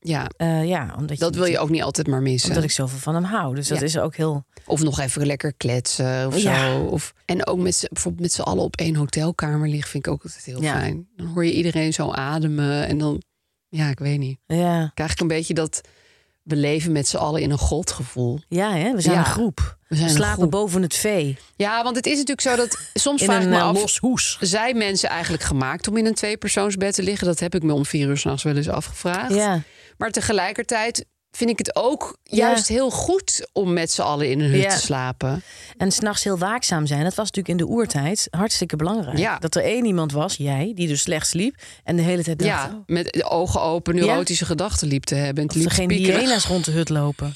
A: ja.
B: Eh, ja, omdat
A: Dat wil je ook niet altijd maar missen.
B: Omdat ik zoveel van hem hou. Dus dat
A: Ja.
B: is ook heel...
A: Of nog even lekker kletsen of
B: Ja.
A: zo. Of, en ook met z'n, bijvoorbeeld met z'n allen op één hotelkamer liggen vind ik ook altijd heel
B: Ja.
A: fijn. Dan hoor je iedereen zo ademen en dan, ja, ik weet niet.
B: Ja,
A: Krijg ik een beetje dat beleven met z'n allen in een godgevoel.
B: ja hè? we zijn
A: Ja.
B: een groep.
A: We zijn een
B: slapen
A: groep.
B: boven het vee.
A: Ja, want het is natuurlijk zo
B: *laughs*
A: dat soms
B: In
A: vraag ik
B: een
A: me
B: eh,
A: af...
B: los hoes.
A: Zijn mensen eigenlijk gemaakt om in een tweepersoonsbed te liggen? Dat heb ik me om vier uur s'nachts wel eens afgevraagd.
B: Ja.
A: Maar tegelijkertijd vind ik het ook
B: Ja.
A: juist heel goed om met z'n allen in een hut
B: Ja.
A: te slapen.
B: En s'nachts heel waakzaam zijn. Dat was natuurlijk in de oertijd hartstikke belangrijk.
A: Ja.
B: Dat er één iemand was, jij, die dus slecht sliep. En de hele tijd dacht,
A: Ja,
B: oh,
A: met de ogen open, neurotische gedachten liep te hebben. En het
B: dat
A: liep
B: er
A: te
B: geen
A: piekeren.
B: hyena's rond de hut lopen.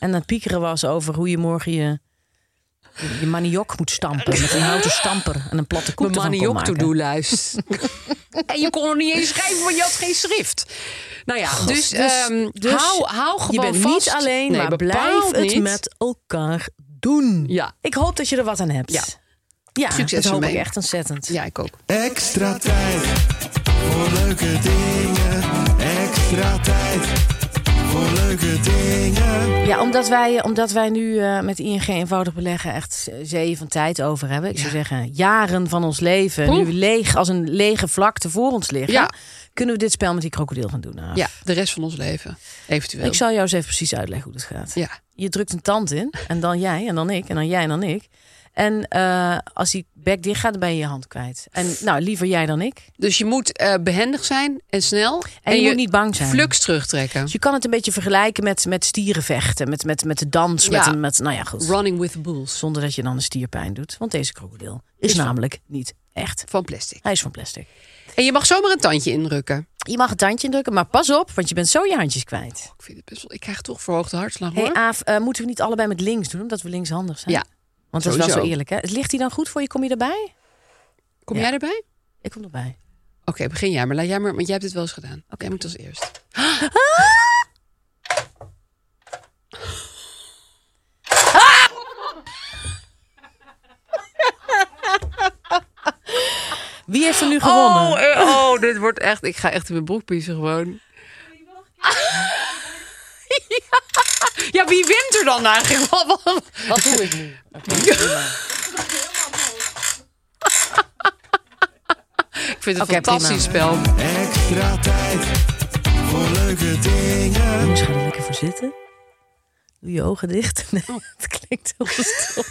B: En dat piekeren was over hoe je morgen je, je, je maniok moet stampen. Met een houten stamper en een platte koek
A: Mijn
B: ervan kon
A: maniok
B: maken.
A: to-do-lijst.
B: *laughs*
A: en je kon er niet eens schrijven, want je had geen schrift. Nou ja, dus,
B: Dus-
A: ehm,
B: dus
A: hou, hou
B: Je
A: gewoon
B: bent
A: vast.
B: niet alleen,
A: Nee,
B: maar blijf
A: bepaald
B: het
A: niet.
B: met elkaar doen.
A: Ja.
B: Ik hoop dat je er wat aan hebt.
A: Ja.
B: Ja,
A: Succes
B: dat hoop
A: ermee.
B: ik echt ontzettend.
A: Ja, ik ook.
C: Extra tijd voor leuke dingen. Extra tijd voor leuke dingen.
B: Ja, omdat wij, omdat wij nu eh, met ING eenvoudig beleggen echt zeeën van tijd over hebben. Ik zou zeggen, jaren van ons leven
A: Oeh.
B: nu leeg als een lege vlakte voor ons liggen.
A: Ja.
B: Kunnen we dit spel met die krokodil gaan doen? Nou, Aaf?
A: Ja, de rest van ons leven. Eventueel.
B: Ik zal jou eens even precies uitleggen hoe dat gaat.
A: Ja.
B: Je drukt een tand in en dan jij en dan ik en dan jij en dan ik. En eh, als die bek dicht gaat, dan ben je je hand kwijt. En nou, liever jij dan ik.
A: Dus je moet eh, behendig zijn en snel.
B: En je moet niet bang zijn.
A: Flux terugtrekken.
B: Dus je kan het een beetje vergelijken met, met stierenvechten, met, met, met de dans,
A: Ja.
B: met, een, met, nou ja, goed.
A: Running with the bulls.
B: Zonder dat je dan een stierpijn doet. Want deze krokodil is,
A: van-
B: namelijk niet echt.
A: Van plastic.
B: Hij is van plastic.
A: En je mag zomaar een tandje indrukken.
B: Je mag het tandje drukken, maar pas op, want je bent zo je handjes kwijt.
A: Ik, vind het best wel, ik krijg toch verhoogde hartslag
B: Hé
A: hoor.
B: hey Aaf, eh, moeten we niet allebei met links doen, omdat we linkshandig zijn?
A: ja.
B: Want dat is wel zo
A: sowieso.
B: eerlijk, hè? Ligt hij dan goed voor je? Kom je erbij?
A: Kom
B: Ja.
A: jij erbij?
B: Ik kom erbij.
A: Oké, begin jij maar. Laat jij maar, want jij hebt het wel eens gedaan. Oké, jij moet als eerst.
B: Wie heeft er nu gewonnen?
A: Oh, eh, oh, dit wordt echt. Ik ga echt in mijn broek piezen gewoon. Ja, *laughs* ja, wie wint er dan eigenlijk? Wat, wat-
B: Wat doe
A: *laughs*
B: ik nu?
A: Ik vind het
B: Oké,
A: een fantastisch spel.
C: Extra tijd voor leuke dingen.
B: Jongens, ga er lekker voor zitten. Doe je ogen dicht. *laughs* Nee, het klinkt heel stom.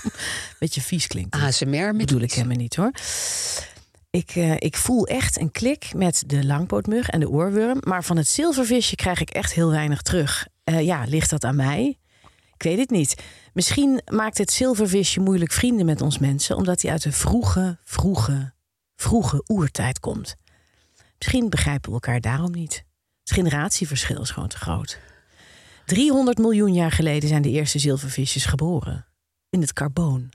B: Beetje vies klinkt het.
A: ASMR met
B: bedoel ik helemaal niet hoor. Ik, eh, ik voel echt een klik met de langpootmug en de oorworm. Maar van het zilvervisje krijg ik echt heel weinig terug. Eh, ja, ligt dat aan mij? Ik weet het niet. Misschien maakt het zilvervisje moeilijk vrienden met ons mensen... omdat hij uit de vroege, vroege, vroege oertijd komt. Misschien begrijpen we elkaar daarom niet. Het generatieverschil is gewoon te groot. 300 miljoen jaar geleden zijn de eerste zilvervisjes geboren. In het carboon.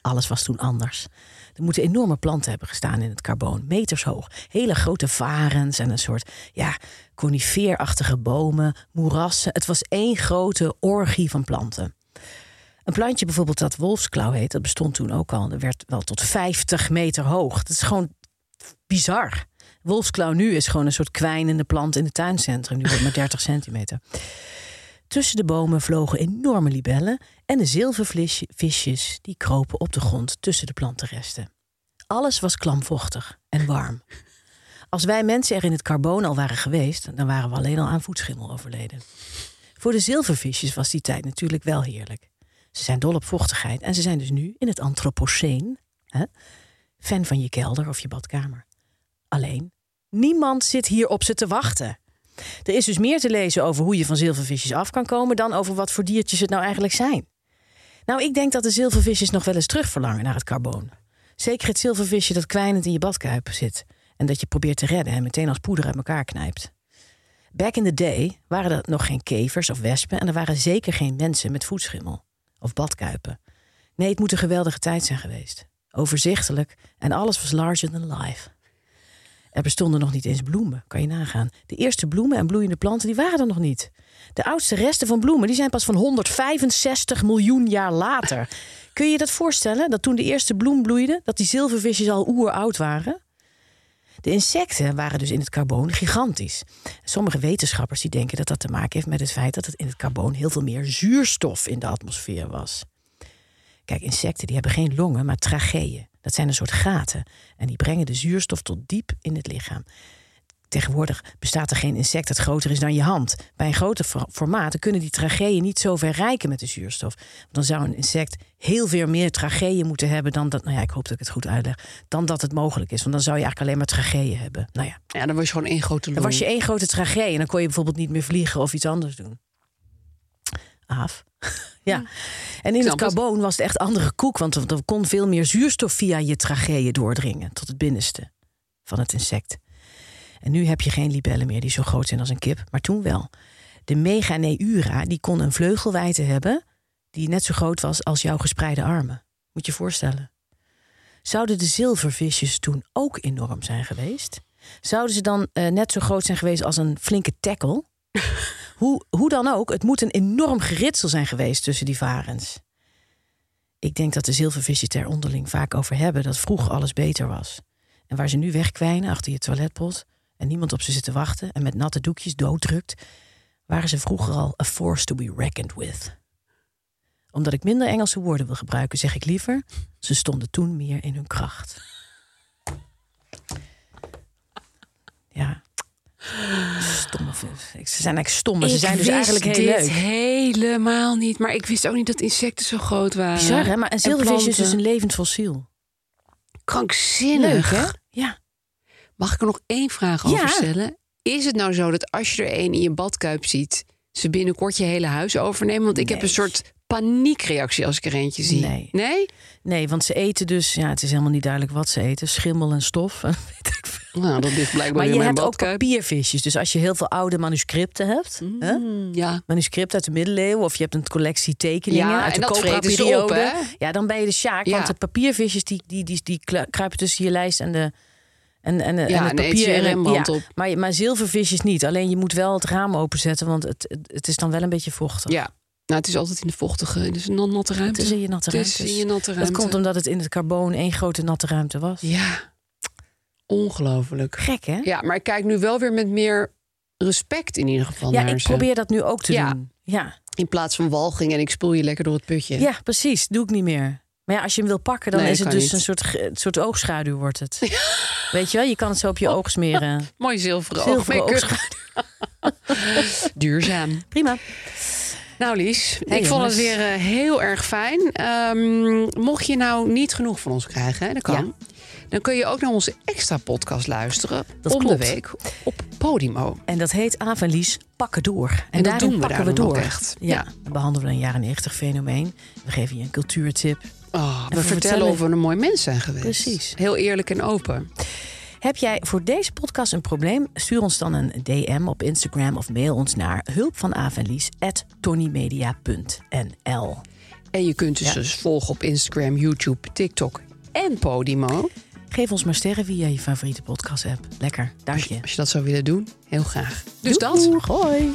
B: Alles was toen anders. Er moeten enorme planten hebben gestaan in het carboon, meters hoog. Hele grote varens en een soort ja, conifeerachtige bomen, moerassen. Het was één grote orgie van planten. Een plantje bijvoorbeeld dat wolfsklauw heet, dat bestond toen ook al. Dat werd wel tot 50 meter hoog. Dat is gewoon bizar. Wolfsklauw nu is gewoon een soort kwijnende plant in het tuincentrum. Die wordt maar 30 centimeter. Tussen de bomen vlogen enorme libellen en de zilvervisjes die kropen op de grond tussen de plantenresten. Alles was klamvochtig en warm. Als wij mensen er in het carboon al waren geweest, dan waren we alleen al aan voetschimmel overleden. Voor de zilvervisjes was die tijd natuurlijk wel heerlijk. Ze zijn dol op vochtigheid en ze zijn dus nu in het antropoceen, hè, fan van je kelder of je badkamer. Alleen, niemand zit hier op ze te wachten. Er is dus meer te lezen over hoe je van zilvervisjes af kan komen dan over wat voor diertjes het nou eigenlijk zijn. Nou, ik denk dat de zilvervisjes nog wel eens terugverlangen naar het carboon. Zeker het zilvervisje dat kwijnend in je badkuip zit en dat je probeert te redden en meteen als poeder uit elkaar knijpt. Back in the day waren er nog geen kevers of wespen en er waren zeker geen mensen met voetschimmel of badkuipen. Nee, het moet een geweldige tijd zijn geweest. Overzichtelijk en alles was larger than life. Er bestonden nog niet eens bloemen, kan je nagaan. De eerste bloemen en bloeiende planten die waren er nog niet. De oudste resten van bloemen die zijn pas van 165 miljoen jaar later. Kun je dat voorstellen, dat toen de eerste bloem bloeide... dat die zilvervisjes al oeroud waren? De insecten waren dus in het carboon gigantisch. Sommige wetenschappers die denken dat dat te maken heeft met het feit... dat het in het carboon heel veel meer zuurstof in de atmosfeer was. Kijk, insecten die hebben geen longen, maar tracheeën. Dat zijn een soort gaten. En die brengen de zuurstof tot diep in het lichaam. Tegenwoordig bestaat er geen insect dat groter is dan je hand. Bij een grote for- formaat dan kunnen die tracheeën niet zo ver reiken met de zuurstof. Want dan zou een insect heel veel meer tracheeën moeten hebben dan dat. Nou ja, ik hoop dat ik het goed uitleg. Dan dat het mogelijk is. Want dan zou je eigenlijk alleen maar tracheeën hebben. Nou ja,
A: Ja, dan was je gewoon één grote
B: dan
A: lol.
B: was je één grote tragedie en dan kon je bijvoorbeeld niet meer vliegen of iets anders doen. Af. *laughs* ja. En in het
A: snap het.
B: carboon was het echt andere koek, want er er kon veel meer zuurstof via je tracheeën doordringen tot het binnenste van het insect. En nu heb je geen libellen meer die zo groot zijn als een kip, maar toen wel. De meganeura die kon een vleugelwijdte hebben die net zo groot was als jouw gespreide armen. Moet je je voorstellen. Zouden de zilvervisjes toen ook enorm zijn geweest? Zouden ze dan eh, net zo groot zijn geweest als een flinke tackle? hoe, hoe dan ook, het moet een enorm geritsel zijn geweest tussen die varens. Ik denk dat de zilvervisjes er onderling vaak over hebben dat vroeg alles beter was. En waar ze nu wegkwijnen achter je toiletpot en niemand op ze zit te wachten en met natte doekjes dooddrukt, waren ze vroeger al a force to be reckoned with. Omdat ik minder Engelse woorden wil gebruiken, zeg ik liever... ze stonden toen meer in hun kracht. Ja. Stomme. Ze zijn eigenlijk stom, maar ze
A: Ik
B: zijn dus
A: wist
B: eigenlijk heel
A: dit
B: leuk.
A: helemaal niet. Maar ik wist ook niet dat insecten zo groot waren.
B: Bizar, hè? Maar een zilvervis is
A: planten.
B: dus een levend fossiel.
A: Krankzinnig.
B: Ja.
A: Mag ik er nog één vraag
B: Ja.
A: over stellen? Is het nou zo dat als je er één in je badkuip ziet... ze binnenkort je hele huis overnemen? Want ik heb
B: Nee.
A: een soort paniekreactie als ik er eentje zie.
B: Nee.
A: Nee?
B: Nee, want ze eten dus... Ja, het is helemaal niet duidelijk wat ze eten. Schimmel en stof. *laughs* en Weet ik veel.
A: Nou, dat ligt blijkbaar
B: Maar
A: in
B: je
A: mijn
B: hebt ook
A: badkuip.
B: papiervisjes. Dus als je heel veel oude manuscripten hebt...
A: Mm.
B: Hè?
A: Ja.
B: Manuscript uit de middeleeuwen of je hebt een collectie tekeningen
A: Ja,
B: uit de
A: en dat
B: cobra
A: vreten ze
B: periode.
A: op, hè?
B: ja, dan ben je de sjaak.
A: Ja.
B: Want de papiervisjes die, die, die, die klu- kruipen tussen je lijst en de en, en, en,
A: Ja,
B: het
A: en eet
B: papier
A: je
B: het-
A: Rembrandt
B: ja.
A: op.
B: Maar, maar zilvervisjes niet. Alleen je moet wel het raam openzetten, want het, het- het is dan wel een beetje vochtig.
A: ja. Nou, het is altijd in de vochtige. Het is een natte ruimte.
B: Het is in je natte
A: Het is
B: ruimte.
A: in je natte
B: Dat
A: ruimte.
B: komt omdat het in het carboon één grote natte ruimte was.
A: Ja. Ongelooflijk.
B: Gek, hè?
A: Ja, maar ik kijk nu wel weer met meer respect in ieder geval
B: Ja,
A: naar
B: ik
A: ze.
B: probeer dat nu ook te
A: Ja.
B: doen. Ja.
A: In plaats van walging en ik spoel je lekker door het putje.
B: ja, precies. Doe ik niet meer. Maar ja, als je hem wil pakken, dan
A: Nee,
B: is het
A: kan
B: dus
A: niet.
B: een soort, ge- een soort oogschaduw wordt
A: *laughs*
B: het. Weet je wel, je kan het zo op
A: Oh,
B: je oog smeren.
A: Mooi zilveren,
B: Zilveren
A: oogmaker.
B: oogschaduw.
A: Duurzaam.
B: Prima.
A: Nou Lies,
B: Hey,
A: ik vond het
B: jongens.
A: weer eh, heel erg fijn. Ehm, mocht je nou niet genoeg van ons krijgen, hè, dat kan. Dan kun je ook naar onze extra podcast luisteren.
B: Dat
A: om
B: klopt.
A: de week op Podimo.
B: En dat heet Aaf en Lies pakken door. En,
A: dat
B: daarin
A: doen we
B: pakken
A: daarom
B: we door.
A: ook echt.
B: Ja.
A: Ja.
B: We behandelen een jaren 90 fenomeen. We geven je een cultuurtip.
A: Oh, we
B: we
A: vertellen
B: vertellen-
A: of we een mooi mens zijn geweest.
B: Precies.
A: Heel eerlijk en open.
B: Heb jij voor deze podcast een probleem? Stuur ons dan een DM op Instagram of mail ons naar hulp van
A: En je kunt dus, dus volgen op Instagram, YouTube, TikTok en Podimo.
B: Geef ons maar sterren via je favoriete podcast app. Lekker, dank je.
A: Als je dat zou willen doen, heel graag. Dus dat.
B: Doeg, hoi.